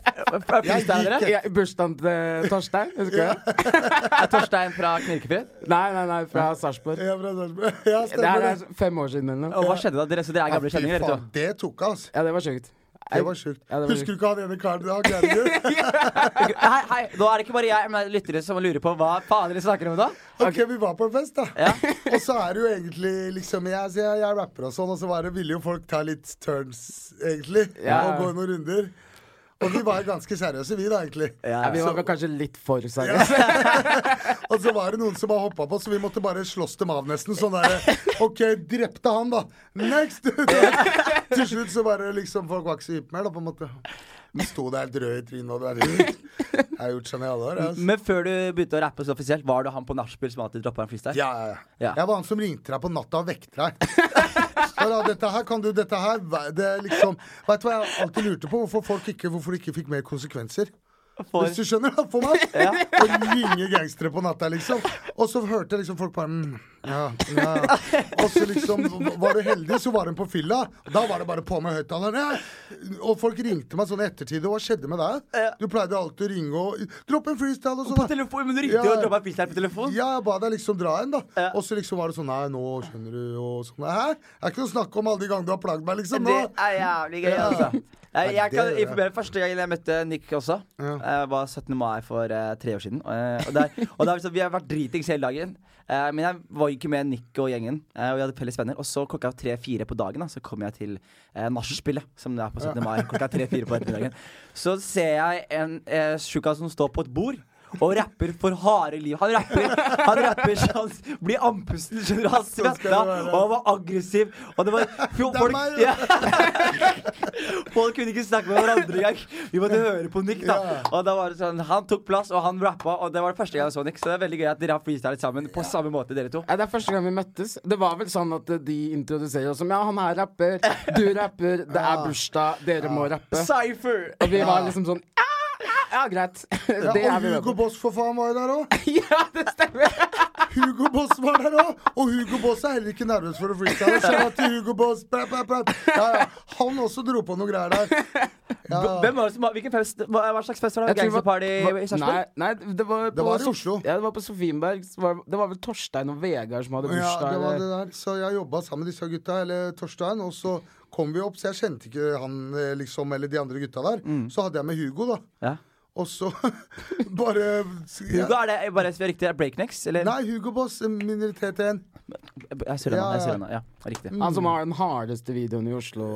[SPEAKER 1] Freestylere.
[SPEAKER 3] Jeg
[SPEAKER 2] Ja, Bursdagen til Torstein, husker du? det?
[SPEAKER 1] Er Torstein fra Knirkefjell.
[SPEAKER 2] Nei, nei, nei, fra Sarpsborg.
[SPEAKER 3] Jeg er fra Sarpsborg.
[SPEAKER 2] Det
[SPEAKER 3] Ja,
[SPEAKER 2] her
[SPEAKER 3] stemmer
[SPEAKER 2] er fem år siden eller noe.
[SPEAKER 1] Og hva skjedde da? Dere, så dere er gamle
[SPEAKER 3] det.
[SPEAKER 1] kjenninger,
[SPEAKER 3] Ja, fy
[SPEAKER 1] dere to?
[SPEAKER 3] faen, det tok av, altså.
[SPEAKER 2] Ja, det var sjukt.
[SPEAKER 3] Det var sjukt.
[SPEAKER 2] Ja, det var
[SPEAKER 3] Husker du ikke han ene karen du har glemt?
[SPEAKER 2] (laughs)
[SPEAKER 1] Hei, hei, nå er det ikke bare jeg, men det er lyttere som lurer på hva faen dere snakker om da.
[SPEAKER 3] OK, vi var på en fest, da.
[SPEAKER 1] Ja.
[SPEAKER 3] og så er det jo egentlig liksom Jeg, så jeg, jeg rapper og sånn, og så var det, ville jo folk ta litt turns, egentlig.
[SPEAKER 2] Ja.
[SPEAKER 3] Og gå noen runder. Og vi var ganske seriøse, vi, da, egentlig.
[SPEAKER 1] Ja,
[SPEAKER 2] Ja, vi var vel kanskje litt for seriøse.
[SPEAKER 3] Og så var det noen som har hoppa på, så vi måtte bare slåss dem av, nesten. Sånn derre OK, drepte han, da. Next! (laughs) Til slutt så bare liksom Folk var ikke så hype mer, da, på en måte. Vi sto der helt røde i trynet, og det er litt Jeg har gjort sånn i alle år, jeg. altså.
[SPEAKER 1] Men før du begynte å rappe så offisielt, var du han på nachspiel som alltid droppa en freestyle?
[SPEAKER 3] Ja, ja,
[SPEAKER 1] Ja.
[SPEAKER 3] ja. Jeg var han som ringte deg på natta og vekte deg. (laughs) Så da, dette her kan du, dette her væ- det er liksom Vet du hva jeg alltid lurte på? Hvorfor folk ikke, hvorfor de ikke fikk mer konsekvenser?
[SPEAKER 1] For,
[SPEAKER 3] Hvis du skjønner, da, for meg. Å ringe gangstere på natta, liksom. Og så hørte jeg liksom folk bare mm, ja, ja. Og så liksom Var du heldig, så var hun på fylla. Da var det bare på med høyttaleren. Ja. Og folk ringte meg sånn i ettertid. Og hva skjedde med deg?
[SPEAKER 1] Ja.
[SPEAKER 3] Du pleide alltid å ringe og Dropp en freestyle og
[SPEAKER 1] eh,
[SPEAKER 3] sånn.
[SPEAKER 1] på
[SPEAKER 3] da.
[SPEAKER 1] telefon, men du ringte
[SPEAKER 3] Ja.
[SPEAKER 1] jo og droppa en freestyle på telefon?
[SPEAKER 3] Ja, jeg ba deg liksom dra igjen, da.
[SPEAKER 1] Ja.
[SPEAKER 3] Og så liksom var det sånn Nei, nå skjønner du, og sånn. Hæ? Det er ikke noe å snakke om alle de gangene du har plagd meg, liksom.
[SPEAKER 1] Det
[SPEAKER 3] Nå.
[SPEAKER 1] er jævlig gøy,
[SPEAKER 3] Ja.
[SPEAKER 1] altså. Jeg,
[SPEAKER 3] Ja,
[SPEAKER 1] jeg
[SPEAKER 3] det
[SPEAKER 1] kan
[SPEAKER 3] er det.
[SPEAKER 1] informere Første gangen jeg møtte Nick også, eh, var 17. mai for eh, tre år siden. Eh, og der, og der, så vi har vært dritings hele dagen. Eh, men jeg var jo ikke med Nick og gjengen. eh, og vi hadde felles venner. Og så klokka tre-fire på dagen da, så kom jeg til eh, nachspielet, som det er på 17. (laughs) mai. Klokka tre-fire på ettermiddagen. Så ser jeg en eh, tjukkas som står på et bord. Og rapper for harde liv. Han rapper, han rapper så han blir andpusten. skjønner du? Han
[SPEAKER 3] skal det
[SPEAKER 1] svetta
[SPEAKER 3] være.
[SPEAKER 1] og han var aggressiv. Og det var
[SPEAKER 3] Det er meg,
[SPEAKER 1] folk,
[SPEAKER 3] det.
[SPEAKER 1] ja, (laughs) Folk kunne ikke snakke med hverandre engang. Vi måtte høre på Nick. da
[SPEAKER 3] Ja.
[SPEAKER 1] Og da var det sånn, Han tok plass, og han rappa, og det var det første gang jeg så Nick. Så det er veldig gøy at dere har freestylet sammen på samme måte, dere to.
[SPEAKER 2] Ja, det er første gang vi møttes. Det var vel sånn at eh, de introduserer oss som Ja, han her rapper, du rapper, det er bursdag, dere må rappe.
[SPEAKER 1] Cypher!
[SPEAKER 2] Og vi var liksom sånn Ja, ja greit.
[SPEAKER 3] Ja,
[SPEAKER 2] (laughs) Det er
[SPEAKER 3] og
[SPEAKER 2] vi med
[SPEAKER 3] Hugo
[SPEAKER 2] på.
[SPEAKER 3] Boss for faen var jo der òg.
[SPEAKER 2] (laughs) Ja, det stemmer.
[SPEAKER 3] (laughs) Hugo Boss var der òg. Og Hugo Boss er heller ikke nervøs for å freestyle. Shout out til Hugo Boss. Bra, bra, bra. Ja, ja. Han også dro på noen greier der. Ja.
[SPEAKER 1] Hvem var det som var, Hvilken fest? Hva, hva slags fest var det?
[SPEAKER 2] Jeg tror det var-
[SPEAKER 1] Gangsterparty i
[SPEAKER 2] hva-
[SPEAKER 1] Sarpsborg?
[SPEAKER 2] Nei, nei, det var,
[SPEAKER 3] Det
[SPEAKER 2] på
[SPEAKER 3] var i
[SPEAKER 2] Sof-
[SPEAKER 3] Oslo.
[SPEAKER 2] Ja, det var på Sofienberg. så var- Det var vel Torstein og Vegard som hadde
[SPEAKER 3] Ja,
[SPEAKER 2] bursdag.
[SPEAKER 3] det var
[SPEAKER 2] eller-
[SPEAKER 3] det der. Så jeg jobba sammen med disse gutta, eller Torstein, og så kom vi opp, så jeg kjente ikke han eh, liksom, eller de andre gutta der.
[SPEAKER 2] Mm.
[SPEAKER 3] Så hadde jeg med Hugo, da.
[SPEAKER 1] Ja.
[SPEAKER 3] Og så (laughs) bare
[SPEAKER 1] Hugo, er det bare SV riktig? Er det Breaknecks? Eller?
[SPEAKER 3] Nei, Hugo Boss, minoritet igjen. Mm.
[SPEAKER 1] Jeg surrer nå. Jeg surrer nå. Ja, riktig.
[SPEAKER 2] Han som har den hardeste videoen i Oslo.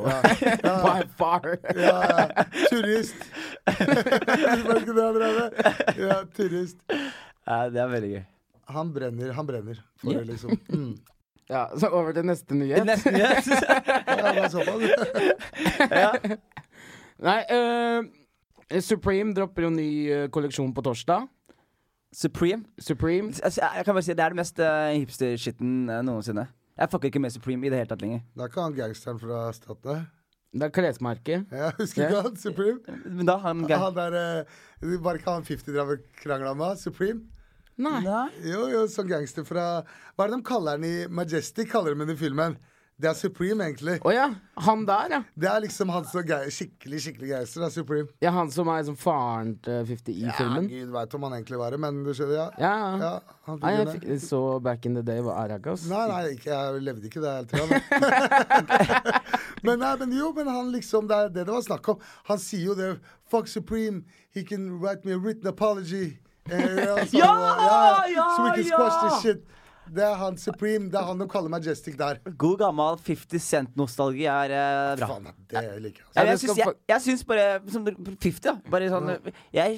[SPEAKER 2] By far.
[SPEAKER 3] Ja, ja. turist. (laughs) Var det ikke det han drev med? Ja, turist.
[SPEAKER 1] Ja, det er veldig gøy.
[SPEAKER 3] Han brenner, han brenner for det, liksom. Mm.
[SPEAKER 2] Ja, så over til neste nyhet.
[SPEAKER 1] Nesten, ja.
[SPEAKER 3] Ja, det er såpass. (laughs)
[SPEAKER 2] Nei, eh, Supreme dropper jo ny eh, kolleksjon på torsdag.
[SPEAKER 1] (laughs) Supreme.
[SPEAKER 2] Supreme.
[SPEAKER 1] Altså, jeg jeg kan bare si Det er det mest eh, hipster-shitten eh, noensinne. Jeg fucker ikke med Supreme i det hele tatt lenger.
[SPEAKER 3] Det er ikke han gangsteren fra Statene.
[SPEAKER 2] Det er klesmerket.
[SPEAKER 3] Jeg husker ikke han, Supreme.
[SPEAKER 1] Men da, han gang...
[SPEAKER 3] Han der, eh, Var ikke han 50 drev og krangla med? Supreme?
[SPEAKER 2] Nei.
[SPEAKER 1] Nei.
[SPEAKER 3] Jo, jo, sånn gangster fra Hva er det de kaller han i Majestic? Kaller de ham i filmen. Det er Supreme, egentlig.
[SPEAKER 2] Å ja. Han der, ja.
[SPEAKER 3] Det er liksom han som er skikkelig skikkelig geister. Det er Supreme.
[SPEAKER 2] ja. Han som er liksom faren til 50 i filmen.
[SPEAKER 3] Ja, Gud veit om han egentlig var det, men du skjønner, ja.
[SPEAKER 2] Ja, ja.
[SPEAKER 3] Ja, han
[SPEAKER 2] Nei, jeg fikk,
[SPEAKER 3] figuren der.
[SPEAKER 2] så back in the day var Aragas.
[SPEAKER 3] Nei, nei, ikke, jeg levde ikke det hele tida.
[SPEAKER 2] (laughs)
[SPEAKER 3] men nei, men jo, men han liksom Det er det det var snakk om. Han sier jo det Fuck Supreme, he can write me a written apology. Eh,
[SPEAKER 2] (laughs)
[SPEAKER 3] altså,
[SPEAKER 1] Ja,
[SPEAKER 3] So we
[SPEAKER 1] ja,
[SPEAKER 3] can squash
[SPEAKER 1] ja.
[SPEAKER 3] this shit. Det er han Supreme. Det er han de kaller Majestic der.
[SPEAKER 1] God gammel 50 Cent-nostalgi er eh, bra.
[SPEAKER 3] Faen, det liker jeg.
[SPEAKER 1] Ja,
[SPEAKER 3] altså.
[SPEAKER 2] Ja,
[SPEAKER 1] men
[SPEAKER 2] det
[SPEAKER 1] jeg, syns,
[SPEAKER 2] skal
[SPEAKER 1] jeg,
[SPEAKER 2] fa-
[SPEAKER 1] jeg syns bare som 50, da. Bare sånn jeg,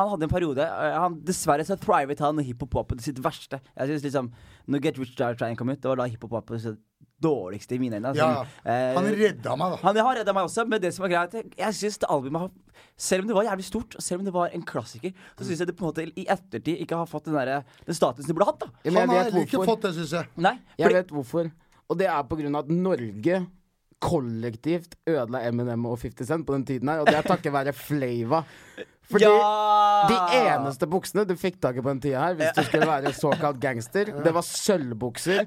[SPEAKER 1] Han hadde en periode eh, han, Dessverre så thrivet han hiphop-popen sitt verste. Jeg synes liksom Når Get Rich Die Trying kom ut, det var da hiphop-popen sitt dårligste i mine øyne.
[SPEAKER 3] Ja, Han
[SPEAKER 1] eh,
[SPEAKER 3] redda meg, da.
[SPEAKER 1] han har redda meg også, men det som er greit Jeg synes det albumet har Selv om det var jævlig stort, og selv om det var en klassiker, så syns jeg det på en måte i ettertid ikke har fått den, derre- den statusen det burde hatt. da
[SPEAKER 2] Ja, men
[SPEAKER 3] Han har
[SPEAKER 2] jeg
[SPEAKER 3] heller
[SPEAKER 2] vet
[SPEAKER 3] ikke
[SPEAKER 2] hvorfor.
[SPEAKER 3] fått det, syns jeg.
[SPEAKER 1] Nei,
[SPEAKER 2] Jeg
[SPEAKER 1] fordi,
[SPEAKER 2] vet hvorfor. Og det er på grunn av at Norge kollektivt ødela Eminem og 50 Cent på den tiden her, og det er takket være Flava. Fordi
[SPEAKER 1] ja!
[SPEAKER 2] de eneste buksene du fikk tak i på den tida her, hvis du skulle være såkalt gangster, det var sølvbukser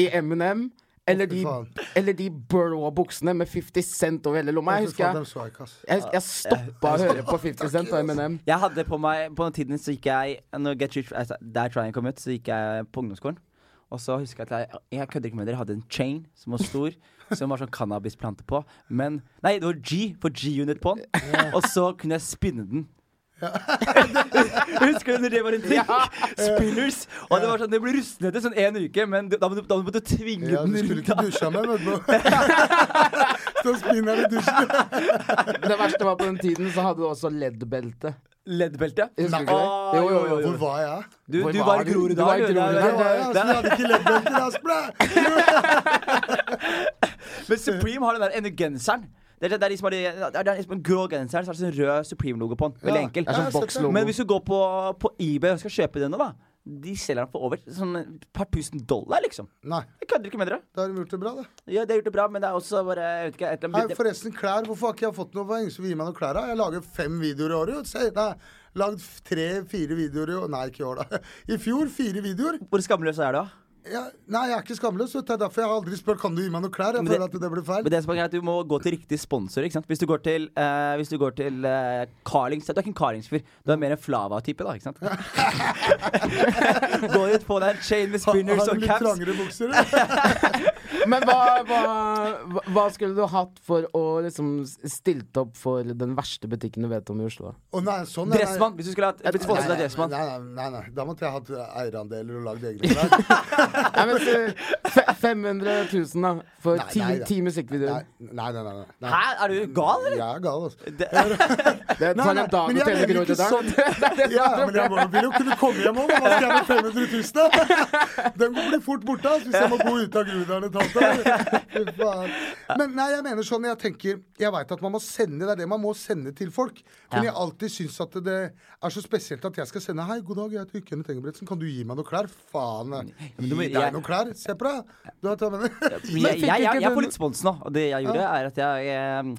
[SPEAKER 2] i Eminem. Eller de,
[SPEAKER 3] Å, fy
[SPEAKER 2] eller de Burrow-buksene med 50 Cent over hele lomma. Jeg
[SPEAKER 3] Jeg
[SPEAKER 2] husker jeg, jeg, jeg stoppa å høre på 50 Cent og M&M. Eminem.
[SPEAKER 1] Jeg hadde på meg På den tiden så gikk jeg Når Get Rich altså, Der Trying kom ut, så gikk jeg på ungdomsskolen. Og så husker jeg at jeg Jeg kødder ikke med dere, jeg hadde en chain som var
[SPEAKER 2] (laughs)
[SPEAKER 1] stor, som var sånn cannabisplante på. Men Nei, det var G, for G-unit på den. Og så kunne jeg spinne den. (laughs) Husker du når det var en ting? Spinners. Og det var sånn, det ble rustnete sånn en uke, men du- da måtte da måtte du tvinge
[SPEAKER 3] Ja, du
[SPEAKER 1] den
[SPEAKER 3] skulle
[SPEAKER 1] rundt.
[SPEAKER 3] ikke
[SPEAKER 1] da.
[SPEAKER 3] dusja med, vet
[SPEAKER 1] (laughs)
[SPEAKER 3] du. Stå og spinner i dusjen.
[SPEAKER 2] Det verste var på den tiden så hadde du også LED-belte.
[SPEAKER 1] Leddbelte.
[SPEAKER 2] Husker du ikke
[SPEAKER 1] Å,
[SPEAKER 2] det? Jo, jo,
[SPEAKER 1] jo, jo.
[SPEAKER 3] Hvor var jeg?
[SPEAKER 1] Du,
[SPEAKER 2] Hvor
[SPEAKER 1] du
[SPEAKER 2] var
[SPEAKER 1] var i
[SPEAKER 2] du?
[SPEAKER 1] Grorud
[SPEAKER 2] Du var i
[SPEAKER 1] da, du. Det
[SPEAKER 2] Grorud
[SPEAKER 3] Der
[SPEAKER 1] er-
[SPEAKER 3] var jeg, altså. Jeg hadde ikke leddbelte, da. Splæ!
[SPEAKER 1] Men Supreme har den der ene genseren. Det er, det er liksom, det er, det er liksom en grå genser, så er det sånn rød Supreme-logo på den. Veldig
[SPEAKER 3] Ja.
[SPEAKER 1] enkel.
[SPEAKER 2] Det er
[SPEAKER 3] Ja,
[SPEAKER 2] sånn
[SPEAKER 3] sett det.
[SPEAKER 2] bokslogo.
[SPEAKER 1] Men hvis du går på, på eBay og skal kjøpe denne, da De selger den for over sånn et par tusen dollar, liksom.
[SPEAKER 3] Nei,
[SPEAKER 1] Jeg kødder ikke med dere.
[SPEAKER 3] da har de gjort det bra, da.
[SPEAKER 1] Ja, det har gjort det bra, men det er også bare jeg vet ikke, et eller
[SPEAKER 3] Nei,
[SPEAKER 1] annet
[SPEAKER 3] forresten, klær. Hvorfor har ikke jeg fått noe? Hva er ingen som gir meg noen klær? da? Jeg lager fem videoer i året. jo. Se, Nei, lagd tre-fire videoer i år. Nei, ikke i år, da. (laughs) I fjor fire videoer.
[SPEAKER 1] Hvor skamløs er du, da?
[SPEAKER 3] Jeg, nei, jeg er ikke skamløs. vet du. Det er derfor jeg aldri spør kan du gi meg noen klær. Jeg
[SPEAKER 1] Men det-
[SPEAKER 3] føler at det blir feil.
[SPEAKER 1] Men det som er greit, du må gå til riktig sponsor. ikke sant? Hvis du går til, eh, hvis du går til eh, Carlings Du er ikke en Carlings-fyr. Du er mer en Flava-type, da. ikke
[SPEAKER 3] (laughs)
[SPEAKER 1] sant? (laughs) gå ut på deg en chain med spinners
[SPEAKER 3] har
[SPEAKER 1] og
[SPEAKER 3] du litt
[SPEAKER 1] caps.
[SPEAKER 3] trangere bukser? eller?
[SPEAKER 2] Men hva, hva, hva- hva skulle du hatt for å liksom stilt opp for den verste butikken du vet om i Oslo?
[SPEAKER 3] Å nei, sånn er
[SPEAKER 1] Dressmann. Hvis du skulle hatt
[SPEAKER 2] Altså,
[SPEAKER 1] blitt sponset av
[SPEAKER 3] Nei,
[SPEAKER 1] Dressmann.
[SPEAKER 3] nei, nei, nei. Da måtte jeg hatt eierandeler og lagd
[SPEAKER 2] (laughs)
[SPEAKER 3] egne klær.
[SPEAKER 2] Nei, men se, fe- 500 000 da, for
[SPEAKER 3] Nei,
[SPEAKER 2] ti,
[SPEAKER 3] nei, da.
[SPEAKER 2] ti musikkvideoer.
[SPEAKER 3] Nei, nei, nei. nei, nei.
[SPEAKER 1] Hæ, er du gal, eller?
[SPEAKER 3] Jeg er gal, altså.
[SPEAKER 2] Det
[SPEAKER 3] Nei,
[SPEAKER 2] tar
[SPEAKER 3] nei,
[SPEAKER 2] en dag
[SPEAKER 3] men
[SPEAKER 2] å
[SPEAKER 3] jeg
[SPEAKER 2] tjene
[SPEAKER 3] mener
[SPEAKER 2] kroner
[SPEAKER 3] ikke
[SPEAKER 2] der.
[SPEAKER 3] sånn.
[SPEAKER 2] Det er det som
[SPEAKER 3] Ja,
[SPEAKER 2] er
[SPEAKER 3] men jeg
[SPEAKER 2] problemet.
[SPEAKER 3] må- vil jo kunne komme hjem òg, hva skal jeg med 500 000? Den blir fort borte altså, hvis jeg må bo ute av Grudalen et halvt år. Fy faen. Men nei, jeg mener sånn, jeg tenker Jeg veit at man må sende, det er det man må sende til folk. Men jeg alltid syns at det er så spesielt at jeg skal sende Hei, god dag, jeg heter Kenneth Engebretsen, kan du gi meg noen klær? Faen. eh.
[SPEAKER 1] du må-
[SPEAKER 3] Gi
[SPEAKER 1] jeg-
[SPEAKER 3] deg noen klær. Se på deg. Du vet hva jeg mener?
[SPEAKER 1] Men jeg,
[SPEAKER 2] fikk
[SPEAKER 1] jeg, jeg,
[SPEAKER 2] ikke
[SPEAKER 1] jeg
[SPEAKER 2] den-
[SPEAKER 1] får litt spons nå. Og det jeg gjorde, er at jeg eh,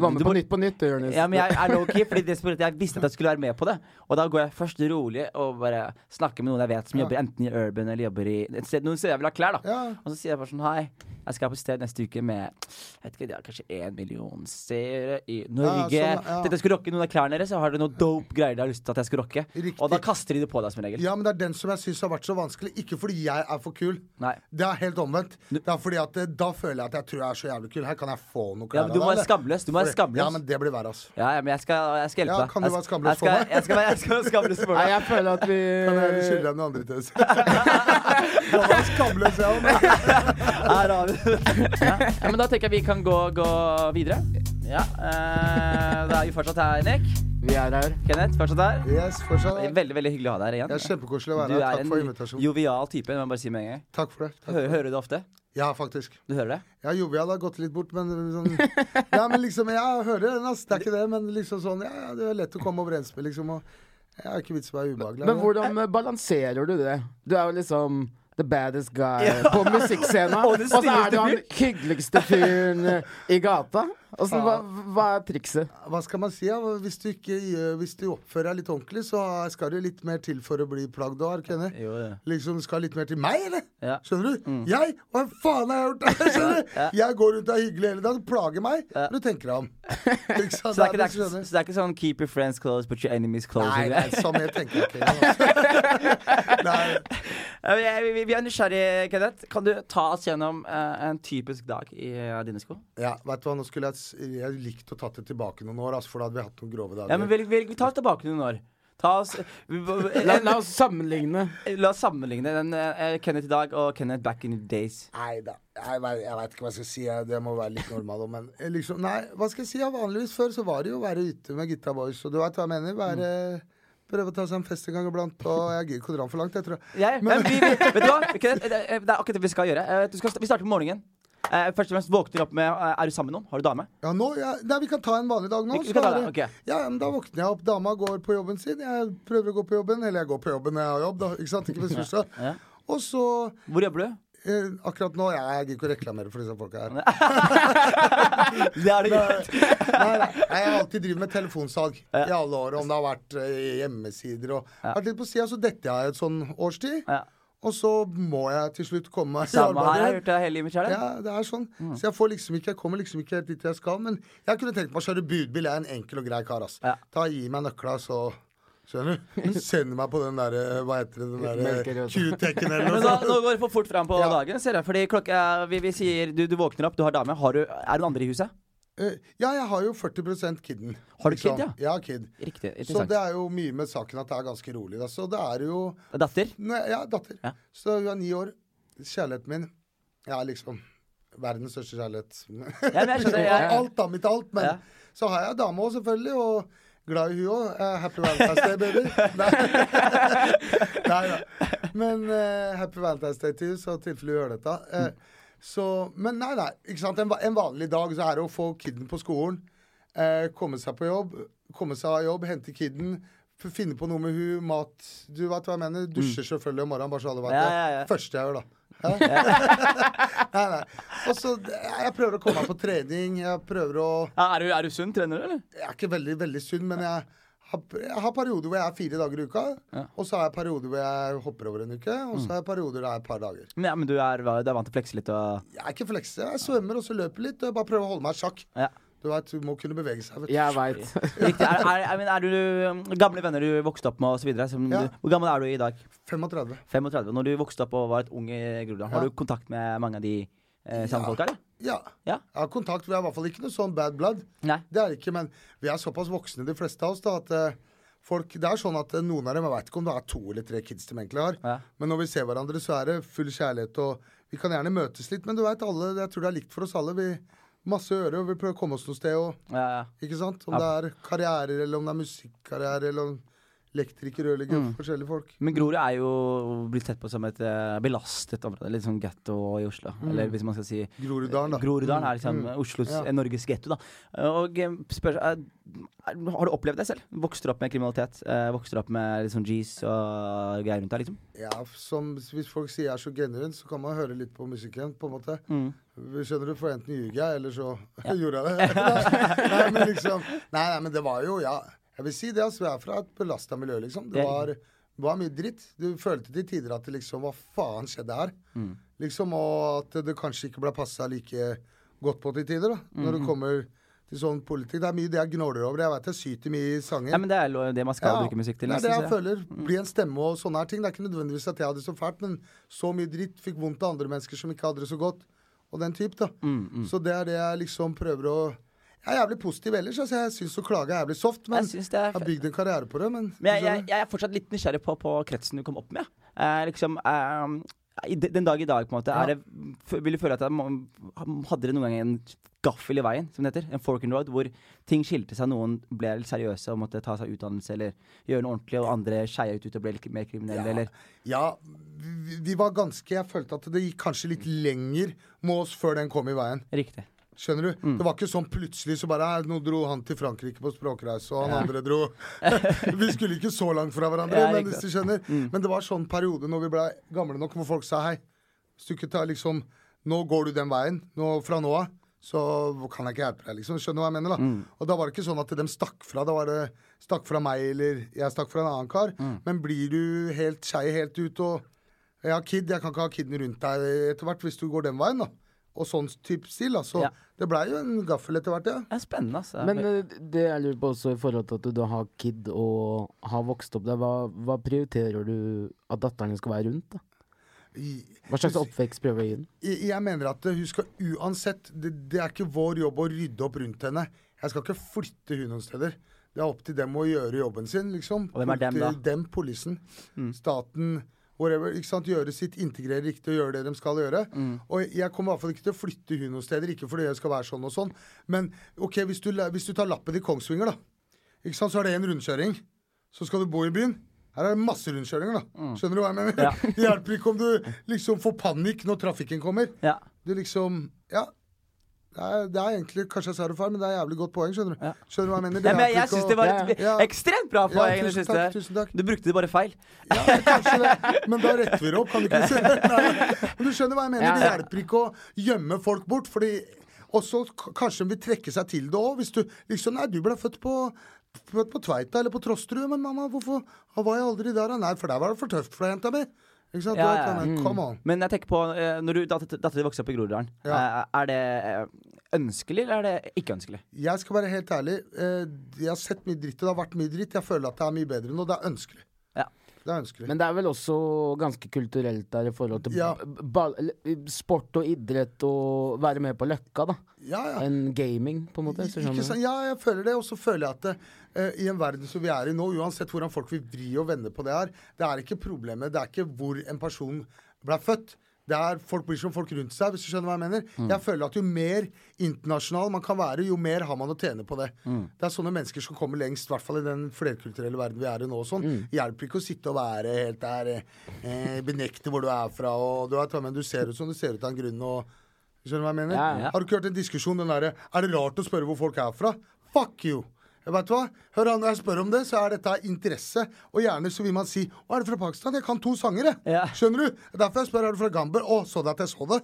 [SPEAKER 2] Var med
[SPEAKER 1] du
[SPEAKER 2] på
[SPEAKER 1] må-
[SPEAKER 2] Nytt på Nytt, du, Jonis.
[SPEAKER 1] Ja, men jeg er low-key, fordi det som gjorde at jeg visste at jeg skulle være med på det. Og da går jeg først rolig og bare snakker med noen jeg vet som jobber enten i Urban eller jobber i et sted, noen steder jeg vil ha klær, da.
[SPEAKER 3] Ja.
[SPEAKER 1] Og så sier jeg bare sånn hei, jeg skal på sted neste uke med jeg vet ikke, det er kanskje én million seere i Norge.
[SPEAKER 3] Ja, sånn, ja.
[SPEAKER 1] Dette skal rocke noen av klærne deres, så har dere noe dope greier dere har lyst til at jeg skal rocke.
[SPEAKER 3] Riktig.
[SPEAKER 1] Og da kaster de det på deg som regel.
[SPEAKER 3] Ja, men det er den som jeg syns har vært så vanskelig. Ikke fordi jeg er for kul.
[SPEAKER 1] Nei.
[SPEAKER 3] Det er helt omvendt. Det er fordi at eh, Da føler jeg at jeg tror jeg er så jævlig kul. Her kan jeg få noe
[SPEAKER 1] Ja,
[SPEAKER 3] klær
[SPEAKER 1] men du må være skamløs. Du må være
[SPEAKER 3] Fordi-
[SPEAKER 1] skamløs.
[SPEAKER 3] Ja, men det blir verre, altså.
[SPEAKER 1] Ja, ja, men jeg skal, jeg skal hjelpe
[SPEAKER 3] Ja,
[SPEAKER 1] deg.
[SPEAKER 3] kan du
[SPEAKER 1] Jeg
[SPEAKER 3] være
[SPEAKER 1] skal-
[SPEAKER 3] skamløs
[SPEAKER 1] jeg
[SPEAKER 3] for
[SPEAKER 1] skal-
[SPEAKER 3] meg?
[SPEAKER 1] Jeg skal være jeg skal være skamløs for
[SPEAKER 2] (laughs) Nei,
[SPEAKER 1] deg.
[SPEAKER 2] jeg føler at
[SPEAKER 3] (laughs) Kan jeg skylde
[SPEAKER 2] vi
[SPEAKER 3] deg noen andre
[SPEAKER 1] (laughs)
[SPEAKER 3] tøys? Da var jeg skamløs, jeg òg.
[SPEAKER 1] Her har vi det. (laughs) ja, men da tenker jeg vi kan gå, gå videre. Ja, eh, Da er vi fortsatt her, Nick.
[SPEAKER 2] Vi er her.
[SPEAKER 1] Kenneth, fortsatt her.
[SPEAKER 3] Yes, fortsatt. Jeg
[SPEAKER 1] Veldig veldig hyggelig å ha deg her igjen.
[SPEAKER 3] er kjempekoselig å
[SPEAKER 1] Du
[SPEAKER 3] være her.
[SPEAKER 1] er
[SPEAKER 3] Takk for
[SPEAKER 1] en
[SPEAKER 3] invitasjonen.
[SPEAKER 1] jovial type. Det må jeg bare si med en gang.
[SPEAKER 3] Takk for det. Takk.
[SPEAKER 1] Hører, hører du det ofte?
[SPEAKER 3] Ja, faktisk.
[SPEAKER 1] Du
[SPEAKER 3] (laughs)
[SPEAKER 1] hører det?
[SPEAKER 3] Ja, Jovial har gått litt bort, men sånn Ja, men liksom Jeg hører den, ass. Det er ikke det, men liksom sånn Ja, ja, det er lett å komme overens med, liksom. Og jeg har ikke vits i å være ubehagelig.
[SPEAKER 2] Men hvordan eh, balanserer du det? Du er jo liksom the baddest guy på musikkscena.
[SPEAKER 1] Og
[SPEAKER 3] (laughs)
[SPEAKER 2] Og
[SPEAKER 1] den
[SPEAKER 2] så er
[SPEAKER 1] snilleste
[SPEAKER 2] du han
[SPEAKER 1] fyren.
[SPEAKER 2] hyggeligste fyren eh, i gata. Altså, hva, hva er trikset?
[SPEAKER 3] Hva skal man si? Ja? Hvis, du ikke, gjør- hvis du oppfører deg litt ordentlig, så skal det litt mer til for å bli plagd og ark henne.
[SPEAKER 1] Jo, det.
[SPEAKER 3] Liksom skal litt mer til meg, eller?
[SPEAKER 1] Ja.
[SPEAKER 3] Skjønner
[SPEAKER 1] Mm.
[SPEAKER 3] du? Jeg? Hva faen har jeg gjort der? (laughs) Skjønner du? Jeg går rundt og er hyggelig hele dagen, plager meg, men du tenker deg om. Ikke
[SPEAKER 1] (laughs) Så
[SPEAKER 3] sant?
[SPEAKER 1] det, er ikke, det, er,
[SPEAKER 3] du
[SPEAKER 1] ikke-
[SPEAKER 3] skjønner.
[SPEAKER 1] så det er ikke sånn 'keep your friends close, but your enemies close'?
[SPEAKER 3] Nei,
[SPEAKER 1] og
[SPEAKER 3] nei,
[SPEAKER 1] greier. (laughs)
[SPEAKER 3] sånn jeg tenker jeg ikke engang. altså. (laughs) Nei,
[SPEAKER 1] Eh, vi- vi, vi er nysgjerrige, Kenneth. Kan du ta oss gjennom eh, en typisk dag i eh, dine sko?
[SPEAKER 3] ja, vet du hva, nå skulle jeg, s- jeg likt å tatt det tilbake noen år, altså, for da hadde vi hatt noen grove dager.
[SPEAKER 1] Ja, men velg, velg, Ta oss tilbake noen år. Ta oss, vi- (laughs) vi-
[SPEAKER 2] La, la oss sammenligne.
[SPEAKER 1] la oss sammenligne den, eh, Kenneth i dag og Kenneth back in the days.
[SPEAKER 3] Nei da. Jeg, vet- jeg veit ikke hva jeg skal si. Jeg, det må være litt normal. da, Men eh, liksom, nei, hva skal jeg si? Ja, vanligvis før så var det jo å være ute med gutta boys. Og du veit hva jeg mener? Være, Prøve å ta seg en fest en gang iblant. Og jeg gidder ikke å dra den for langt, jeg tror. jeg.
[SPEAKER 1] Jeg, men vi, vi, vet du hva? Kenneth, det er det er akkurat det vi skal gjøre. Eh, Du skal, vi starter på morgenen. Eh, Først og fremst våkner du opp med eh, Er du sammen med noen? Har du dame?
[SPEAKER 3] Ja, nå, ja, nei, vi kan ta en vanlig dag nå.
[SPEAKER 1] Vi- vi
[SPEAKER 3] så
[SPEAKER 1] kan ta
[SPEAKER 3] er
[SPEAKER 1] det, ok.
[SPEAKER 3] Ja, men Da våkner jeg opp. Dama går på jobben sin. Jeg prøver å gå på jobben. Eller jeg går på jobben når jeg har jobb, da. Ikke sant? Ikke
[SPEAKER 1] (laughs)
[SPEAKER 3] ressurser.
[SPEAKER 1] Ja.
[SPEAKER 3] Og så
[SPEAKER 1] Hvor jobber du?
[SPEAKER 3] eh, Akkurat nå Jeg, jeg gidder ikke å reklamere for disse folka her.
[SPEAKER 1] Det er det greit.
[SPEAKER 3] Nei, nei, nei, jeg har alltid drevet med telefonsalg i alle år. Om det har vært eh, hjemmesider og vært litt på sida, så detter jeg et sånn årstid.
[SPEAKER 1] Ja.
[SPEAKER 3] Og så må jeg til slutt komme meg i
[SPEAKER 1] Samme her. Jeg har
[SPEAKER 3] arbeid
[SPEAKER 1] gjort det Mm. hele livet mitt. kjære.
[SPEAKER 3] Ja, det er sånn. Så jeg får liksom ikke Jeg kommer liksom ikke helt dit jeg skal. Men jeg kunne tenkt meg å kjøre budbil. Jeg er en enkel og grei kar, ass.
[SPEAKER 1] Ja.
[SPEAKER 3] Ta Gi meg nøkla, så Skjønner du? Send meg på den derre Hva heter det? Den derre
[SPEAKER 2] Melkerød.
[SPEAKER 3] Q-tekken eller noe
[SPEAKER 1] (laughs) Men nå,
[SPEAKER 3] sånt.
[SPEAKER 1] nå går det for fort fram på
[SPEAKER 3] Ja.
[SPEAKER 1] dagen. Ser jeg, fordi klokka, vi, vi sier du, du våkner opp, du har dame. Har du, er det noen andre i huset?
[SPEAKER 3] Eh, Ja, jeg har jo 40 kidden. liksom.
[SPEAKER 1] Har du kid, ja?
[SPEAKER 3] Ja, kid.
[SPEAKER 1] Riktig.
[SPEAKER 3] Så
[SPEAKER 1] Interessant.
[SPEAKER 3] det er jo mye med saken at det er ganske rolig. Da. Så det er jo
[SPEAKER 1] Datter?
[SPEAKER 3] Nei, ja, datter.
[SPEAKER 1] Ja.
[SPEAKER 3] Så hun er ni år. Kjærligheten min Jeg er liksom verdens største kjærlighet.
[SPEAKER 1] Ja, men jeg
[SPEAKER 3] (laughs)
[SPEAKER 1] skjønner, ja, ja.
[SPEAKER 3] Alt da, mitt alt. Men
[SPEAKER 1] Ja.
[SPEAKER 3] så har jeg dame òg, selvfølgelig. Og glad i hun òg. Happy Valentine's Day, baby.
[SPEAKER 1] (laughs)
[SPEAKER 3] Nei. (laughs) Nei da. Men eh, happy Valentine's Day til hun, så i tilfelle hun hører dette. Eh, Så, men nei, nei. Ikke sant? En, va- en vanlig dag så er det å få kiden på skolen, eh, komme seg på jobb, komme seg av jobb, hente kiden, f- finne på noe med hun, mat Du vet hva jeg mener? Dusjer selvfølgelig om morgenen, bare så alle vet
[SPEAKER 1] Mm. Ja, ja, ja.
[SPEAKER 3] det. Første jeg gjør, da. Hæ? (laughs) nei, nei. Og så Jeg prøver å komme meg på trening. Jeg prøver å
[SPEAKER 1] Ja, er, du, er du sunn? Trener du, eller?
[SPEAKER 3] jeg er ikke veldig, veldig sunn, men jeg har, jeg har perioder hvor jeg er fire dager i uka. Og så har jeg perioder hvor jeg hopper over en uke, og
[SPEAKER 1] Mm.
[SPEAKER 3] så har jeg perioder der jeg er et par dager.
[SPEAKER 1] Men, ja, men du er, du er vant til å flekse litt og
[SPEAKER 3] Jeg er ikke flekse. Jeg svømmer og så løper litt. Og jeg bare prøver å holde meg i sjakk.
[SPEAKER 1] ja.
[SPEAKER 3] Du vet, du må kunne bevege seg. Vet. du.
[SPEAKER 2] Jeg veit.
[SPEAKER 1] Riktig. Er, er, jeg mener, er du um, gamle venner du vokste opp med osv.?
[SPEAKER 3] Ja.
[SPEAKER 1] Hvor gammel er du i dag?
[SPEAKER 3] 35.
[SPEAKER 1] 35. Når du vokste opp og var et ung i Groruddalen,
[SPEAKER 3] Ja.
[SPEAKER 1] har du kontakt med mange av de eh, samme folka, eller?
[SPEAKER 3] Ja.
[SPEAKER 1] Ja.
[SPEAKER 3] Jeg har kontakt. Vi er i hvert fall ikke noe sånn bad blood.
[SPEAKER 1] Nei.
[SPEAKER 3] Det er det ikke, men vi er såpass voksne, de fleste av oss, da, at eh, folk Det er sånn at eh, noen av dem Jeg vet ikke om det er to eller tre kids de egentlig har,
[SPEAKER 1] Ja.
[SPEAKER 3] men når vi ser hverandre, så er det full kjærlighet, og vi kan gjerne møtes litt, men du veit alle Jeg tror det er likt for oss alle. Vi masse å gjøre, og vi prøver å komme oss noe sted, og
[SPEAKER 1] Ja, ja.
[SPEAKER 3] ikke sant? Om det er karrierer, eller om det er musikkarriere, eller om elektriker, rørlegger,
[SPEAKER 1] Mm.
[SPEAKER 3] forskjellige folk.
[SPEAKER 1] Men Grorud er jo blitt sett på som et eh, belastet område. Litt sånn getto i Oslo.
[SPEAKER 3] Mm.
[SPEAKER 1] Eller hvis man skal si
[SPEAKER 3] Groruddalen, da.
[SPEAKER 1] Groruddalen er liksom Oslos,
[SPEAKER 3] Mm. Ja.
[SPEAKER 1] eh, Norges getto, da. Og eh, spør, eh, er- har du opplevd det selv? Vokste du opp med kriminalitet? eh, Vokste du opp med liksom G's og greier rundt deg, liksom?
[SPEAKER 3] Ja, som, hvis folk sier jeg er så genuin, så kan man høre litt på musikken, på en måte. Skjønner du, for enten ljuger jeg, eller så (laughs) gjorde jeg det. (laughs) nei, men liksom, nei, nei, men det var jo, ja. Jeg vil si det, altså, vi er fra et belasta miljø, liksom.
[SPEAKER 1] Det
[SPEAKER 3] Det
[SPEAKER 1] er-
[SPEAKER 3] var, var mye dritt. Du følte til tider at det liksom, hva faen skjedde her? Liksom, og at det kanskje ikke ble passa like godt på til tider, da. Når det kommer til sånn politikk. Det er mye det jeg gnåler over. Jeg vet jeg syter mye i sanger.
[SPEAKER 1] Ja, men det er lo- det man skal bruke musikk til.
[SPEAKER 3] Det er
[SPEAKER 1] nesten,
[SPEAKER 3] det
[SPEAKER 1] så-
[SPEAKER 3] jeg føler. Bli en stemme og sånne her ting. Det er ikke nødvendigvis at jeg hadde det så fælt, men så mye dritt fikk vondt av andre mennesker som ikke hadde det så godt. Og den type, da.
[SPEAKER 1] Mm,
[SPEAKER 3] Så det er det jeg liksom prøver å Jeg er jævlig positiv ellers. Altså, jeg syns å klage er jævlig soft, men
[SPEAKER 1] Jeg synes det er
[SPEAKER 3] jeg har bygd en karriere på det. Men,
[SPEAKER 1] Men jeg, jeg, jeg er fortsatt litt nysgjerrig på, på kretsen du kom opp med. Eh, liksom, eh, i de- den dag i dag, på en måte. Er det, f- vil du føle at det, er man- Hadde dere noen gang en gaffel i veien, som det heter? En fork in the road, hvor ting skilte seg. Noen ble litt seriøse og måtte ta seg utdannelse eller gjøre noe ordentlig, og andre skeia ut ut og ble litt mer kriminelle, eller
[SPEAKER 3] Ja, vi, vi var ganske Jeg følte at det gikk kanskje litt lenger med oss før den kom i veien.
[SPEAKER 1] Riktig.
[SPEAKER 3] Skjønner du?
[SPEAKER 1] Mm.
[SPEAKER 3] Det var ikke sånn plutselig så bare «Nei, Nå dro han til Frankrike på språkreise, og han andre dro
[SPEAKER 1] (laughs)
[SPEAKER 3] Vi skulle ikke så langt fra hverandre,
[SPEAKER 1] Ja,
[SPEAKER 3] men
[SPEAKER 1] ikke
[SPEAKER 3] hvis du skjønner. Men det var sånn periode når vi ble gamle nok, hvor folk sa hei. Hvis du ikke tar liksom Nå går du den veien. Nå, fra nå av. så kan jeg ikke hjelpe deg, liksom. Skjønner du hva jeg mener, da? Og da var det ikke sånn at de stakk fra. Da var det stakk fra meg, eller jeg stakk fra en annen kar. Men blir du helt skei helt ut og Jeg har kid, jeg kan ikke ha kiden rundt deg etter hvert hvis du går den veien, da. Og sånn type stil, da. Så
[SPEAKER 1] Ja.
[SPEAKER 3] det blei jo en gaffel etter hvert, ja.
[SPEAKER 1] Det er spennende, altså.
[SPEAKER 2] Men eh, det jeg lurer på også i forhold til at du da har kid og har vokst opp der, hva, hva prioriterer du at datteren din skal være rundt? da?
[SPEAKER 3] I-
[SPEAKER 2] Hva slags oppvekst prøver du å gi den?
[SPEAKER 3] Jeg jeg mener at hun skal uansett det, det er ikke vår jobb å rydde opp rundt henne. Jeg skal ikke flytte hun noen steder. Det er opp til dem å gjøre jobben sin, liksom.
[SPEAKER 1] Og hvem er dem,
[SPEAKER 3] Politi-
[SPEAKER 1] da? Mm.
[SPEAKER 3] Dem, politien, staten, whatever. ikke sant? Gjøre sitt, integrere riktig og gjøre det de skal gjøre.
[SPEAKER 1] Mm.
[SPEAKER 3] Og jeg kommer i hvert fall ikke til å flytte hun noen steder, ikke fordi jeg skal være sånn og sånn. Men ok, hvis du, la- hvis du tar lappen til Kongsvinger, da. Ikke sant, så er det en rundkjøring. Så skal du bo i byen. Her er det masse rundkjøringer, da. Skjønner du hva jeg mener?
[SPEAKER 1] Mm. Ja.
[SPEAKER 3] (laughs) Det hjelper ikke om du liksom får panikk når trafikken kommer.
[SPEAKER 1] ja.
[SPEAKER 3] Du liksom Ja. Det er, det er egentlig kanskje jeg sa det feil, men det er jævlig godt poeng, skjønner du.
[SPEAKER 1] Ja.
[SPEAKER 3] Skjønner du hva jeg mener?
[SPEAKER 1] Nei, men jeg,
[SPEAKER 3] hjelper
[SPEAKER 1] jeg
[SPEAKER 3] ikke
[SPEAKER 1] syns
[SPEAKER 3] å-
[SPEAKER 1] det var
[SPEAKER 2] Ja,
[SPEAKER 1] et
[SPEAKER 3] ja.
[SPEAKER 1] ekstremt bra
[SPEAKER 3] ja,
[SPEAKER 1] poeng. det
[SPEAKER 3] tusen
[SPEAKER 1] siste
[SPEAKER 3] takk,
[SPEAKER 1] her.
[SPEAKER 3] tusen takk.
[SPEAKER 1] Du brukte det bare feil.
[SPEAKER 3] Ja, kanskje det. Men da retter vi det opp, kan du ikke si Nei. Men du skjønner hva jeg mener? Det
[SPEAKER 2] Ja.
[SPEAKER 3] hjelper ikke å gjemme folk bort, fordi Og så k- kanskje de vil trekke seg til det òg, hvis du liksom Nei, du ble født på Født på Tveita eller på Trosterud, men mamma, hvorfor var jeg aldri der? da? Nei, for der var det for tøft for deg, jenta mi. Ikke sant?
[SPEAKER 1] Ja,
[SPEAKER 3] Du vet,
[SPEAKER 1] ja, ja.
[SPEAKER 3] men Come on.
[SPEAKER 1] Men jeg tenker på, eh, når du dattera di vokste opp i Groruddalen,
[SPEAKER 3] Ja.
[SPEAKER 1] eh, er det eh, ønskelig, eller er det ikke ønskelig?
[SPEAKER 3] Jeg skal være helt ærlig. eh, Jeg har sett mye dritt, og det har vært mye dritt. Jeg føler at det er mye bedre nå. Det er ønskelig.
[SPEAKER 1] Ja.
[SPEAKER 3] Det er ønskelig.
[SPEAKER 2] Men det er vel også ganske kulturelt der i forhold til
[SPEAKER 3] Ja.
[SPEAKER 2] b- ball, eller, sport og idrett og være med på Løkka, da.
[SPEAKER 3] ja, ja.
[SPEAKER 2] Enn gaming, på en måte. hvis du
[SPEAKER 3] Ikke
[SPEAKER 2] skjønner.
[SPEAKER 3] sant? Ja, jeg føler det. Og så føler jeg at eh, i en verden som vi er i nå, uansett hvordan folk vil vri og vende på det her, det er ikke problemet. Det er ikke hvor en person ble født. Det er Folk blir som folk rundt seg, hvis du skjønner hva jeg mener.
[SPEAKER 2] Mm.
[SPEAKER 3] Jeg føler at jo mer internasjonal man kan være, jo mer har man å tjene på det.
[SPEAKER 2] Mm.
[SPEAKER 3] Det er sånne mennesker som kommer lengst, i hvert fall i den flerkulturelle verden vi er i nå. og
[SPEAKER 2] Mm.
[SPEAKER 3] Sånn. Hjelper ikke å sitte og være helt der, eh, benekte hvor du er fra, og du, vet, hva, men du ser ut som du ser ut av en grunn. og Skjønner du hva jeg mener?
[SPEAKER 2] Ja, ja.
[SPEAKER 3] Har du ikke hørt en diskusjon den derre Er det rart å spørre hvor folk er fra? Fuck you! Jeg vet hva? Hør han, Når jeg spør om det, så er dette interesse. Og gjerne så vil man si Å, er du fra Pakistan? Jeg kan to sanger, jeg.
[SPEAKER 1] Ja.
[SPEAKER 3] Skjønner du? Derfor jeg spør er du fra Gamber. Å, så du at jeg så det?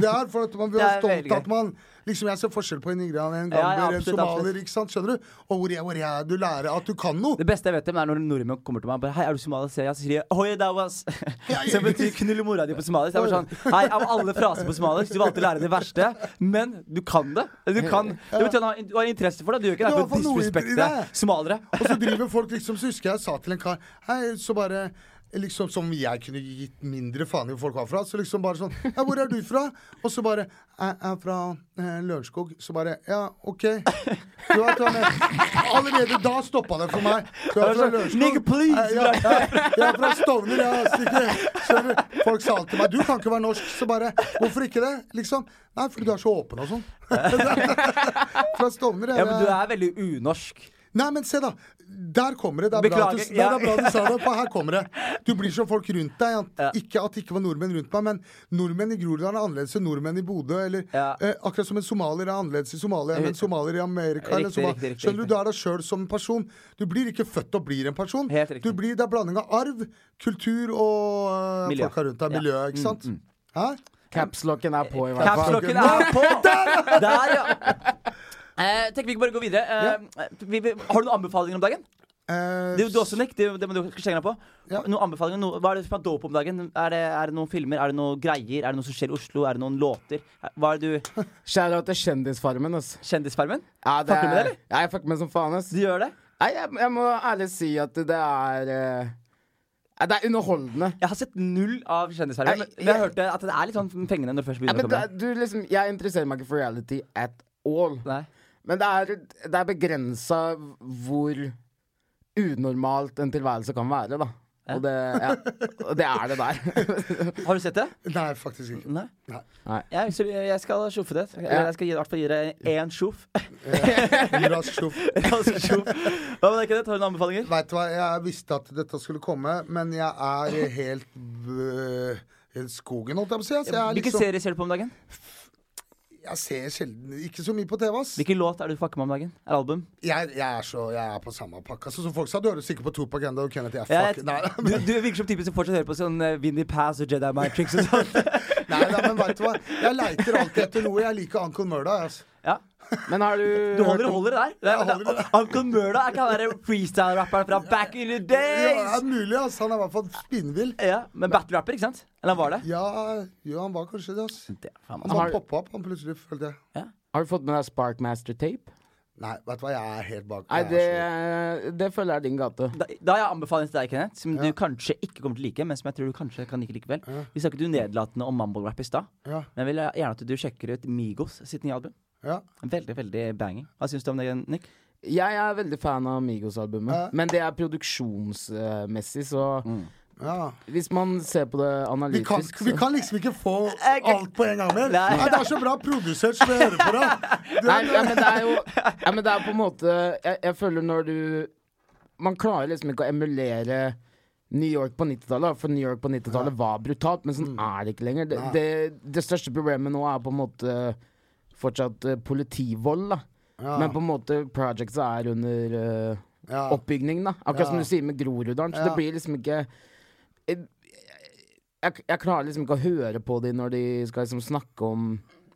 [SPEAKER 3] Det er for at man
[SPEAKER 1] (laughs)
[SPEAKER 3] blir
[SPEAKER 1] Det er veldig
[SPEAKER 3] stolt
[SPEAKER 1] gøy.
[SPEAKER 3] av at man Liksom, jeg ser forskjell på en nigerianer, en
[SPEAKER 1] Ja, ja,
[SPEAKER 3] gamber, en
[SPEAKER 1] absolutt,
[SPEAKER 3] somalier,
[SPEAKER 1] absolutt.
[SPEAKER 3] ikke sant? Skjønner du? Og hvor jeg, hvor jeg Du lærer at du kan noe.
[SPEAKER 1] Det beste jeg vet om, er når nordmenn kommer til meg og bare Hei, er du somalier? Så sier jeg- så sier jeg Oi, that was
[SPEAKER 3] ja.
[SPEAKER 1] (laughs) Så betyr knull mora di på somalisk. Det er bare sånn Hei, av alle fraser på somalisk, du valgte å lære det verste, men du kan det. Du kan Det betyr at du har- du har interesse for det. Du gjør ikke
[SPEAKER 3] Du
[SPEAKER 1] det for
[SPEAKER 3] har
[SPEAKER 1] å
[SPEAKER 3] fått noe i
[SPEAKER 1] disrespekte
[SPEAKER 3] det.
[SPEAKER 1] somaliere.
[SPEAKER 3] Og så driver folk liksom Så husker jeg sa til en kar Hei, så bare Liksom Som jeg kunne gitt mindre faen i hvor folk var fra. Så liksom bare sånn Ja, hvor er du fra? Og så bare Jeg er fra eh, Lørenskog. Så bare Ja, OK. Du vet hva jeg mener. Allerede da stoppa det for meg. Du er fra Lørenskog.
[SPEAKER 1] Nigga, sånn, please,
[SPEAKER 3] Eh, ja, ja, jeg er fra Stovner, jeg. ass, ikke- Skjønner du? Folk sa alltid til meg Du kan ikke være norsk. Så bare Hvorfor ikke det? Liksom. Nei, fordi du er så åpen og sånn. (laughs)
[SPEAKER 1] (laughs)
[SPEAKER 3] fra Stovner. jeg,
[SPEAKER 1] Ja, men
[SPEAKER 3] jeg-
[SPEAKER 1] du er veldig unorsk.
[SPEAKER 3] Nei, men se da. Der kommer det. Det er, bra
[SPEAKER 1] Beklager,
[SPEAKER 3] at du, nei,
[SPEAKER 1] ja.
[SPEAKER 3] det er bra du sa det,
[SPEAKER 1] (laughs)
[SPEAKER 3] for her kommer det. Du blir som folk rundt deg. At,
[SPEAKER 1] Ja.
[SPEAKER 3] Ikke at det ikke var nordmenn rundt meg, men nordmenn i Groruddalen er annerledes enn nordmenn i Bodø. Eller
[SPEAKER 1] Ja.
[SPEAKER 3] eh, akkurat som en somalier er annerledes i Somalia enn en somalier i Amerika. eller
[SPEAKER 1] Riktig,
[SPEAKER 3] Somal-
[SPEAKER 1] riktig, riktig,
[SPEAKER 3] Skjønner du, du er deg sjøl som en person. Du blir ikke født og blir en person.
[SPEAKER 1] Helt riktig.
[SPEAKER 3] Du blir, det er blanding av arv, kultur og
[SPEAKER 1] Miljø.
[SPEAKER 3] miljø. folka rundt deg.
[SPEAKER 1] Ja. Mm,
[SPEAKER 3] Miljøet, ikke sant? Hæ?
[SPEAKER 2] Capslocken er på, i hvert fall.
[SPEAKER 1] Capslocken er på! Der, ja. Eh, tenker vi ikke bare gå videre. Eh, vi, vi, har du noen anbefalinger om dagen?
[SPEAKER 3] Eh,
[SPEAKER 1] Det er jo du også, Nick. Det, er jo- det må du slenge deg på.
[SPEAKER 3] Ja.
[SPEAKER 1] Noen anbefalinger? noe- hva er det som er dope om dagen? Er det, er det noen filmer? Er det noen greier? Er det noe som skjer i Oslo? Er det noen låter? Er- Hva er det du
[SPEAKER 2] Skjær av til Kjendisfarmen, ass.
[SPEAKER 1] Kjendisfarmen?
[SPEAKER 2] Ja, det
[SPEAKER 1] Fucker du med det,
[SPEAKER 2] er-
[SPEAKER 1] eller?
[SPEAKER 2] Ja, jeg fucker med som faen, ass.
[SPEAKER 1] Du gjør det?
[SPEAKER 2] Nei, jeg, jeg må ærlig si at det er eh, nei, Det er underholdende.
[SPEAKER 1] Jeg har sett null av Kjendisfarmen. Men
[SPEAKER 2] Nei,
[SPEAKER 1] men jeg
[SPEAKER 2] jeg-
[SPEAKER 1] hørte at det er litt sånn fengende når det først
[SPEAKER 2] Ja,
[SPEAKER 1] begynner
[SPEAKER 2] men
[SPEAKER 1] å komme.
[SPEAKER 2] det, er- du, liksom, jeg interesserer meg ikke for reality at all.
[SPEAKER 1] Nei.
[SPEAKER 2] Men det er, det er begrensa hvor unormalt en tilværelse kan være, da. Og det, ja, og det er det der. (laughs)
[SPEAKER 1] Har du sett det?
[SPEAKER 3] Nei, faktisk
[SPEAKER 1] (laughs)
[SPEAKER 3] ikke.
[SPEAKER 1] Nei.
[SPEAKER 3] Nei.
[SPEAKER 1] Jeg, så jeg skal sjoffe det. Eller jeg skal gi- i hvert fall gi det én (laughs) sjoff.
[SPEAKER 3] Rask sjoff.
[SPEAKER 1] Rask sjoff. Hva med deg, Kenneth? Har du noen anbefalinger?
[SPEAKER 3] Vet du hva, jeg visste at dette skulle komme, men jeg er helt øh, Helt skogen, holdt jeg på å si. Altså, jeg, er
[SPEAKER 1] Hvilke
[SPEAKER 3] liksom,
[SPEAKER 1] serier ser du på om dagen?
[SPEAKER 3] jeg ser sjelden Ikke så mye på TV, ass.
[SPEAKER 1] Hvilken låt er det du fucker med om dagen? Er det album?
[SPEAKER 3] Jeg, jeg er så Jeg er på samme pakka. Så som folk sa, du hører sikkert på Tupac Enda og Kenneth. Jeg,
[SPEAKER 1] Ja, jeg,
[SPEAKER 3] fuck, nei,
[SPEAKER 1] eh,
[SPEAKER 3] (laughs)
[SPEAKER 1] du, du virker som typen som fortsatt hører på sånn uh, Vindy Pass og Jedi Matrix og sånn.
[SPEAKER 3] Nei da, men veit du hva? Jeg leiter alltid etter noe. Jeg liker Uncle Murda. Altså.
[SPEAKER 1] Ja.
[SPEAKER 2] Men har du,
[SPEAKER 1] Du holder holder det der.
[SPEAKER 3] Jeg holder det der.
[SPEAKER 1] Uncle Murda er ikke han derre freestyle-rapperen fra back in the
[SPEAKER 3] Jo, det er
[SPEAKER 1] days!
[SPEAKER 3] mulig, ass. Han er i hvert fall spinnvill.
[SPEAKER 1] Ja, Men battle-rapper, ikke sant? Eller han var det?
[SPEAKER 3] Ja, jo, han var kanskje det, ass.
[SPEAKER 1] Det er faen meg
[SPEAKER 3] Han
[SPEAKER 2] Har-
[SPEAKER 3] bare poppa opp, han plutselig, følte jeg.
[SPEAKER 2] har du fått med deg Sparkmaster-tape?
[SPEAKER 3] Nei, vet du hva, jeg er helt bak.
[SPEAKER 2] Nei,
[SPEAKER 3] Jeg er
[SPEAKER 2] det,
[SPEAKER 3] så-
[SPEAKER 2] det føler jeg er din gate.
[SPEAKER 1] Da, da har jeg anbefaling til deg, Kenneth, som du kanskje ikke kommer til å like, men som jeg tror du kanskje kan like likevel. Vi snakket jo nedlatende om mumble-rap i stad,
[SPEAKER 3] Ja,
[SPEAKER 1] men jeg vil gjerne at du sjekker ut Migos sitt nye album.
[SPEAKER 3] ja.
[SPEAKER 1] Veldig, veldig banging. Hva syns du om det, Nick?
[SPEAKER 2] Jeg er veldig fan av Migos-albumet,
[SPEAKER 3] Ja.
[SPEAKER 2] men det er produksjonsmessig, så
[SPEAKER 3] ja.
[SPEAKER 2] hvis man ser på det
[SPEAKER 3] Vi kan,
[SPEAKER 2] analytisk
[SPEAKER 3] vi kan liksom ikke få alt på en gang mer.
[SPEAKER 1] Nei.
[SPEAKER 3] Nei, det er så bra produsert som jeg hører på
[SPEAKER 1] (laughs)
[SPEAKER 3] deg. Du
[SPEAKER 2] Nei,
[SPEAKER 3] er-
[SPEAKER 2] ja, men det er jo (laughs) ja, men det er på en måte jeg, jeg føler når du Man klarer liksom ikke å emulere New York på 90-tallet, da, for New York på 90-tallet var brutalt, men sånn er det ikke lenger. Det,
[SPEAKER 3] Nei.
[SPEAKER 2] det, det største problemet nå er på en måte fortsatt eh, politivold, da.
[SPEAKER 3] Ja.
[SPEAKER 2] Men på en måte projects er under eh,
[SPEAKER 3] Ja.
[SPEAKER 2] oppbygning, da. Akkurat som
[SPEAKER 3] Ja.
[SPEAKER 2] du sier med Groruddalen. Så
[SPEAKER 3] Ja.
[SPEAKER 2] det blir liksom ikke jeg, jeg, jeg klarer liksom ikke å høre på de når de skal liksom snakke om,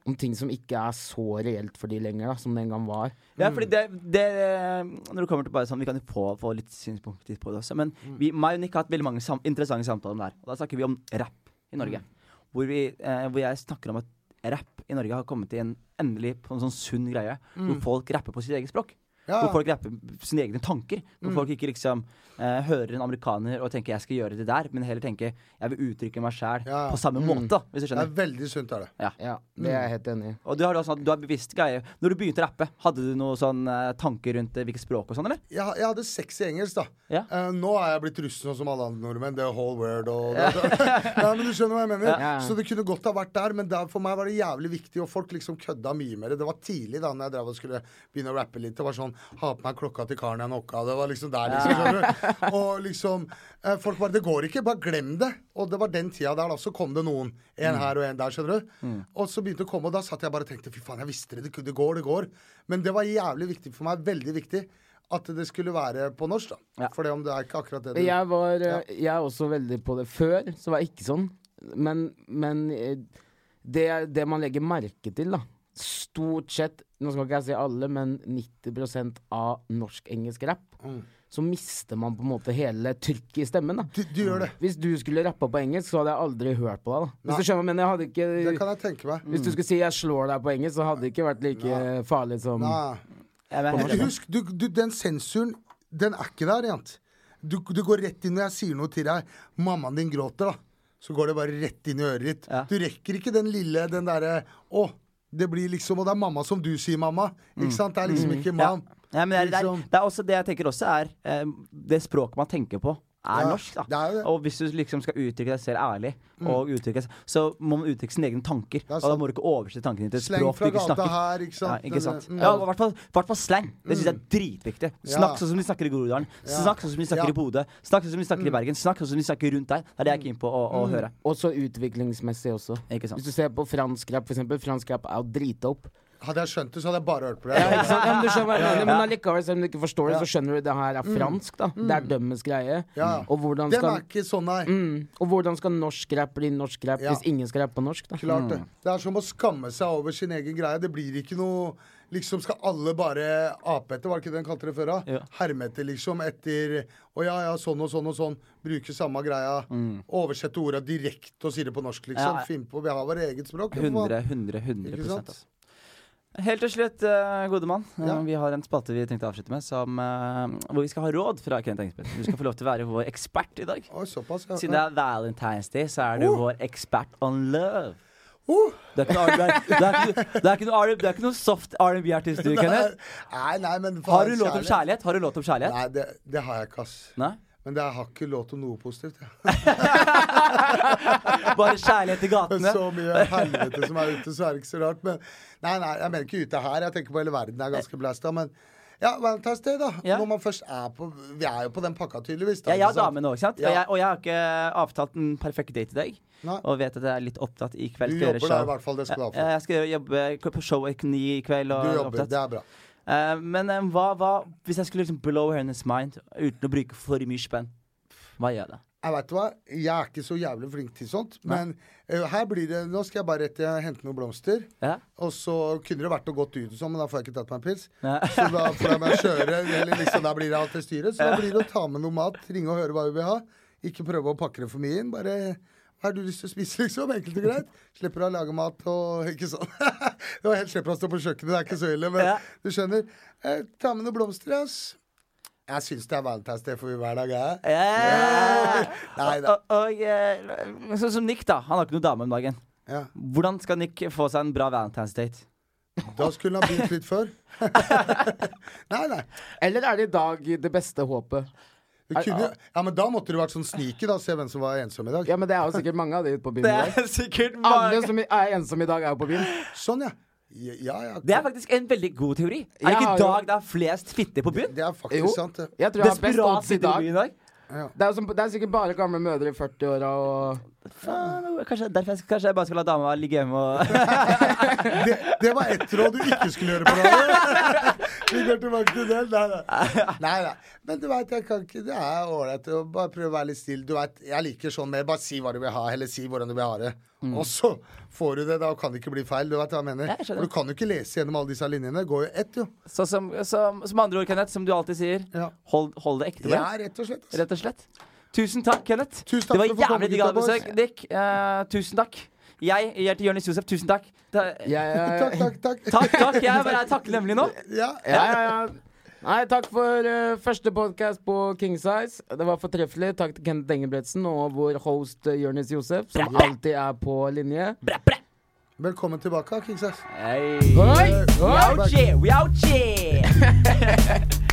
[SPEAKER 2] om ting som ikke er så reelt for de lenger, da, som den gang var.
[SPEAKER 3] Mm.
[SPEAKER 1] Ja, fordi det, det eh, Når det kommer til bare sånn Vi kan jo få, få litt synspunkter på det også, men
[SPEAKER 3] Mm.
[SPEAKER 1] vi, meg og Nick har hatt veldig mange sam interessante samtaler om det her. Og da snakker vi om rapp i Norge.
[SPEAKER 3] Mm.
[SPEAKER 1] Hvor, vi, eh, hvor jeg snakker om at rapp i Norge har kommet til en endelig på en sånn sunn greie, hvor folk rapper på sitt eget språk.
[SPEAKER 3] Mm. Ja. Mm.
[SPEAKER 1] Hvor folk rapper sine egne tanker. Hvor folk ikke liksom eh, hører en amerikaner og tenker 'jeg skal gjøre det der', men heller tenker 'jeg vil uttrykke meg sjæl'
[SPEAKER 3] Ja. Mm.
[SPEAKER 1] på samme måte, da, hvis du
[SPEAKER 3] Det er
[SPEAKER 1] skjønner.
[SPEAKER 3] veldig sunt, er det.
[SPEAKER 2] Ja, det er jeg helt enig i.
[SPEAKER 1] Og du har, da sånn at du er bevisst greie. Når du begynte å rappe, hadde du noen sånn eh, tanker rundt eh, hvilket språk og sånn, eller?
[SPEAKER 3] Jeg, jeg hadde sex i engelsk, da.
[SPEAKER 1] Ja.
[SPEAKER 3] Eh, nå er jeg blitt russen sånn som alle andre nordmenn. The whole world og (laughs) Nei, men Du skjønner hva jeg mener?
[SPEAKER 2] Ja.
[SPEAKER 3] Så det kunne godt ha vært der, men der for meg var det jævlig viktig, og folk liksom kødda mye mer. Det var tidlig da når jeg drev og skulle begynne å rappe litt. Det var sånn Ha på meg klokka til karen jeg knocka. Det var liksom der, liksom. skjønner du? Og liksom eh, Folk bare Det går ikke, bare glem det. Og det var den tida der, da. Så kom det noen. En her og en der, skjønner du. Og så begynte det å komme, og da satt jeg bare og tenkte fy faen, jeg visste det. Det, det går, det går. Men det var jævlig viktig for meg. Veldig viktig. At det skulle være på norsk, da.
[SPEAKER 1] Ja.
[SPEAKER 3] For det om det er ikke akkurat det du
[SPEAKER 2] Jeg var eh, Jeg er også veldig på det. Før så var jeg ikke sånn, men, men eh, det, er- det man legger merke til, da Stort sett, nå skal ikke jeg si alle, men 90 av norsk-engelsk rap, så mister man på en måte hele trykket i stemmen, da.
[SPEAKER 3] du, du gjør det.
[SPEAKER 2] Hvis du skulle rappa på engelsk, så hadde jeg aldri hørt på deg, da. Hvis du skjønner, hva jeg mener, jeg hadde ikke
[SPEAKER 3] Det kan jeg tenke meg.
[SPEAKER 2] Hvis du skulle si 'jeg slår deg' på engelsk, så hadde det ikke vært like eh, farlig som
[SPEAKER 3] Nei.
[SPEAKER 1] Jeg, jeg,
[SPEAKER 3] Men Husk, du, du, den sensuren, den er ikke der, Jant. Du, du går rett inn når jeg sier noe til deg. Mammaen din gråter, da. Så går det bare rett inn i øret ditt.
[SPEAKER 1] Ja.
[SPEAKER 3] Du rekker ikke den lille, den derre Å, det blir liksom Og det er mamma som du sier, mamma. Ikke
[SPEAKER 1] Mm.
[SPEAKER 3] sant? Det er liksom ikke mam.
[SPEAKER 1] Nei, men det, er, det, er,
[SPEAKER 3] Liksom.
[SPEAKER 1] det er også det jeg tenker også er eh, Det språket man tenker på, er
[SPEAKER 3] Ja,
[SPEAKER 1] norsk. da
[SPEAKER 3] det er jo det. Mm.
[SPEAKER 1] Og hvis du liksom skal uttrykke deg selv ærlig, og uttrykke, seg- så må man uttrykke sine egne tanker.
[SPEAKER 3] er
[SPEAKER 1] Og da
[SPEAKER 3] sant.
[SPEAKER 1] må du ikke oversette tankene til et
[SPEAKER 3] Sleng
[SPEAKER 1] språk du
[SPEAKER 3] fra
[SPEAKER 1] ikke
[SPEAKER 3] gata
[SPEAKER 1] snakker.
[SPEAKER 3] her, sånn. ikke sant?
[SPEAKER 1] Ja, ikke sant?
[SPEAKER 3] Den-
[SPEAKER 1] Ja, i hvert fall- i hvert fall slang. Det syns jeg er dritviktig. Snakk
[SPEAKER 3] Mm. Ja.
[SPEAKER 1] sånn som de snakker i Groruddalen. Snakk sånn som de snakker
[SPEAKER 3] Ja. Mm.
[SPEAKER 1] i Bodø. Snakk sånn som de snakker i Bergen. Snakk sånn som de snakker rundt deg. Det er det jeg er keen på å, å høre.
[SPEAKER 2] Også utviklingsmessig også.
[SPEAKER 1] Ikke
[SPEAKER 2] Hvis
[SPEAKER 1] sant?
[SPEAKER 2] du ser på fransk rap, for eksempel. Fransk rap er jo dritopp.
[SPEAKER 3] Hadde jeg skjønt det, så hadde jeg bare hørt på
[SPEAKER 2] Ja,
[SPEAKER 3] det.
[SPEAKER 2] ikke sant? Ja, men, du skjønner, hva jeg mener. men allikevel, selv om du ikke forstår det, så skjønner du det her er fransk, da. Det er dømmes greie.
[SPEAKER 3] Ja.
[SPEAKER 2] Og, hvordan
[SPEAKER 3] Den er
[SPEAKER 2] skal,
[SPEAKER 3] ikke sånn, nei.
[SPEAKER 2] mm, og hvordan skal norsk rap bli norsk rap
[SPEAKER 3] Ja.
[SPEAKER 2] hvis ingen skal rappe på norsk, da?
[SPEAKER 3] Klart
[SPEAKER 1] Mm.
[SPEAKER 3] det. Det er som å skamme seg over sin egen greie. Det blir ikke noe Liksom skal alle bare ape etter, var det ikke det den kalte det før? da?
[SPEAKER 1] Ja.
[SPEAKER 3] Herme etter, liksom. Etter Å ja, ja, sånn og sånn og sånn. Bruke samme greia. Oversette orda direkte og si det på norsk, liksom.
[SPEAKER 1] Mm. Ja.
[SPEAKER 3] Finn på Vi har vårt eget språk. det får man-
[SPEAKER 1] 100, 100, 100
[SPEAKER 3] Ikke sant?
[SPEAKER 1] altså. Helt til slutt, eh, gode mann. eh,
[SPEAKER 3] Ja.
[SPEAKER 1] Vi har en spalte vi tenkte å avslutte med, som, eh, hvor vi skal ha råd fra Kenneth Engsbø. Du skal få lov til å være vår ekspert i dag.
[SPEAKER 3] Oi, såpass, ja.
[SPEAKER 1] Siden det er Valentine's Day, så er du vår ekspert on love.
[SPEAKER 3] Oh!
[SPEAKER 1] Du er ikke noe, R&B du er ikke, du er ikke noe, R&B du er ikke noe soft R&B-artist, du,
[SPEAKER 3] (laughs) Nei,
[SPEAKER 1] Kenneth.
[SPEAKER 3] nei, nei, men
[SPEAKER 1] Har du låt om kjærlighet? Har du låt om kjærlighet?
[SPEAKER 3] Nei, det, det har jeg ikke, ass.
[SPEAKER 1] Nei?
[SPEAKER 3] Men det, jeg har ikke låt om noe positivt. jeg.
[SPEAKER 1] Bare kjærlighet i
[SPEAKER 3] Med
[SPEAKER 1] gatene?
[SPEAKER 3] (laughs) så mye helvete som er ute, så er det ikke så rart. Men nei, nei, jeg mener ikke ute her. Jeg tenker på hele verden er ganske blæsta. Men ja, Valentine's Day, da.
[SPEAKER 1] Ja.
[SPEAKER 3] Når man først er på Vi er jo på den pakka, tydeligvis. Da,
[SPEAKER 1] Ja, jeg har
[SPEAKER 3] ikke sant?
[SPEAKER 1] dame nå, ikke sant? Og
[SPEAKER 3] Ja.
[SPEAKER 1] jeg, og jeg har ikke avtalt en perfekt date i dag.
[SPEAKER 3] Nei.
[SPEAKER 1] Og vet at jeg er litt opptatt i kveld.
[SPEAKER 3] Du
[SPEAKER 1] skal gjøre
[SPEAKER 3] jobber da,
[SPEAKER 1] show.
[SPEAKER 3] i hvert fall. Det skal du ha
[SPEAKER 1] Ja,
[SPEAKER 3] for.
[SPEAKER 1] Eh, Jeg skal jobbe på show ni i kveld. Og
[SPEAKER 3] Du jobber,
[SPEAKER 1] opptatt.
[SPEAKER 3] det er bra.
[SPEAKER 1] Eh, men eh, hva, hva Hvis jeg skulle liksom blow hennes mind uten å bruke for mye spenn, hva gjør jeg da?
[SPEAKER 3] jeg vet hva, jeg er ikke så jævlig flink til sånt, men eh, her blir det Nå skal jeg bare rett til hente noen blomster.
[SPEAKER 1] Ja.
[SPEAKER 3] Og så kunne det vært noe godt ut og sånn, men da får jeg ikke tatt meg en pils.
[SPEAKER 1] (laughs) Nei.
[SPEAKER 3] Så da får jeg meg kjøre, eller liksom, da blir det alt det styret. Så da blir det å ta med noe mat, ringe og høre hva vi vil ha. Ikke prøve å pakke det for mye inn. Bare hva har du lyst til å spise, (laughs) liksom? Enkelt og greit. Slipper å lage mat og ikke sånn. (laughs) det var helt slipper å stå på kjøkkenet, det er ikke så ille, men
[SPEAKER 1] Ja.
[SPEAKER 3] du skjønner. Eh, ta med noen blomster, ass. Jeg syns det er Valentine's Day for hver dag, jeg.
[SPEAKER 1] Yeah.
[SPEAKER 3] Nei da.
[SPEAKER 1] Og, og eh, sånn som Nick, da. Han har ikke noe dame om dagen.
[SPEAKER 3] Ja.
[SPEAKER 1] Hvordan skal Nick få seg en bra Valentine's date?
[SPEAKER 3] Da skulle han begynt litt før. (laughs) nei, nei.
[SPEAKER 2] Eller er det i dag det beste håpet?
[SPEAKER 3] Det kunne, jo- ja, men da måtte du vært sånn sneaky, da. Se hvem som var ensom i dag.
[SPEAKER 2] Ja, men det er jo sikkert mange av de ute på byen
[SPEAKER 1] Det
[SPEAKER 2] i dag.
[SPEAKER 1] er sikkert
[SPEAKER 2] Alle
[SPEAKER 1] mange
[SPEAKER 2] som er ensomme i dag, er jo på byen.
[SPEAKER 3] Sånn, ja. Ja, ja. ja.
[SPEAKER 1] Det er faktisk en veldig god teori. Er det
[SPEAKER 2] Jeg
[SPEAKER 1] ikke
[SPEAKER 2] har
[SPEAKER 1] i
[SPEAKER 2] jo-
[SPEAKER 1] dag det er flest fitte på byen?
[SPEAKER 3] Det er faktisk
[SPEAKER 2] Jo.
[SPEAKER 3] sant, det.
[SPEAKER 2] Jeg tror jeg har best
[SPEAKER 1] Desperat
[SPEAKER 2] odds i
[SPEAKER 1] fitte på
[SPEAKER 2] dag.
[SPEAKER 1] byen i dag.
[SPEAKER 2] Det er, jo som, det er sikkert bare gamle mødre i 40-åra og
[SPEAKER 1] Faen, Kanskje, derfor jeg, kanskje jeg bare skal la dama ligge hjemme og
[SPEAKER 3] det. Det var ett råd du ikke skulle gjøre på radio. (laughs) Vi går tilbake til det. Nei, nei. nei, nei. Men du veit, jeg kan ikke Det er ålreit å bare prøve å være litt snill. Du vet, jeg liker sånn mer. Bare si hva du vil ha, eller si hvordan du vil ha det. Og så får du det. Da kan det ikke bli feil. Du vet hva jeg mener.
[SPEAKER 1] Mm. Ja, jeg skjønner.
[SPEAKER 3] For du kan jo ikke lese gjennom alle disse linjene. Det går jo ett, jo.
[SPEAKER 1] Så som, som, som andre ord, Kenneth, som du alltid sier,
[SPEAKER 3] Ja.
[SPEAKER 1] hold, hold det ekte.
[SPEAKER 3] Ja,
[SPEAKER 1] vel?
[SPEAKER 3] rett og slett. altså. ass.
[SPEAKER 1] Rett og slett. Tusen takk, Kenneth.
[SPEAKER 3] Tusen
[SPEAKER 1] det
[SPEAKER 3] takk
[SPEAKER 1] var
[SPEAKER 3] for at du kom,
[SPEAKER 1] jævlig digg å ha
[SPEAKER 3] gutta boys.
[SPEAKER 1] besøk. Dick, eh, tusen takk. Jeg gir til Jonis Josef, tusen takk. Ta,
[SPEAKER 2] Ja, ja,
[SPEAKER 3] Takk, takk, takk.
[SPEAKER 1] takk, takk. Jeg bare er takknemlig nå.
[SPEAKER 3] Ja.
[SPEAKER 2] ja, ja, ja. Nei, takk for eh, første podkast på King Size. Det var fortreffelig. Takk til Kenneth Engebretsen og vår host uh, Jonis Josef, som alltid er på linje.
[SPEAKER 1] Bra, bra.
[SPEAKER 3] Velkommen tilbake, Kingsass.
[SPEAKER 1] Hey.
[SPEAKER 2] Oi!
[SPEAKER 1] We
[SPEAKER 2] Oi!
[SPEAKER 1] out here, we out here.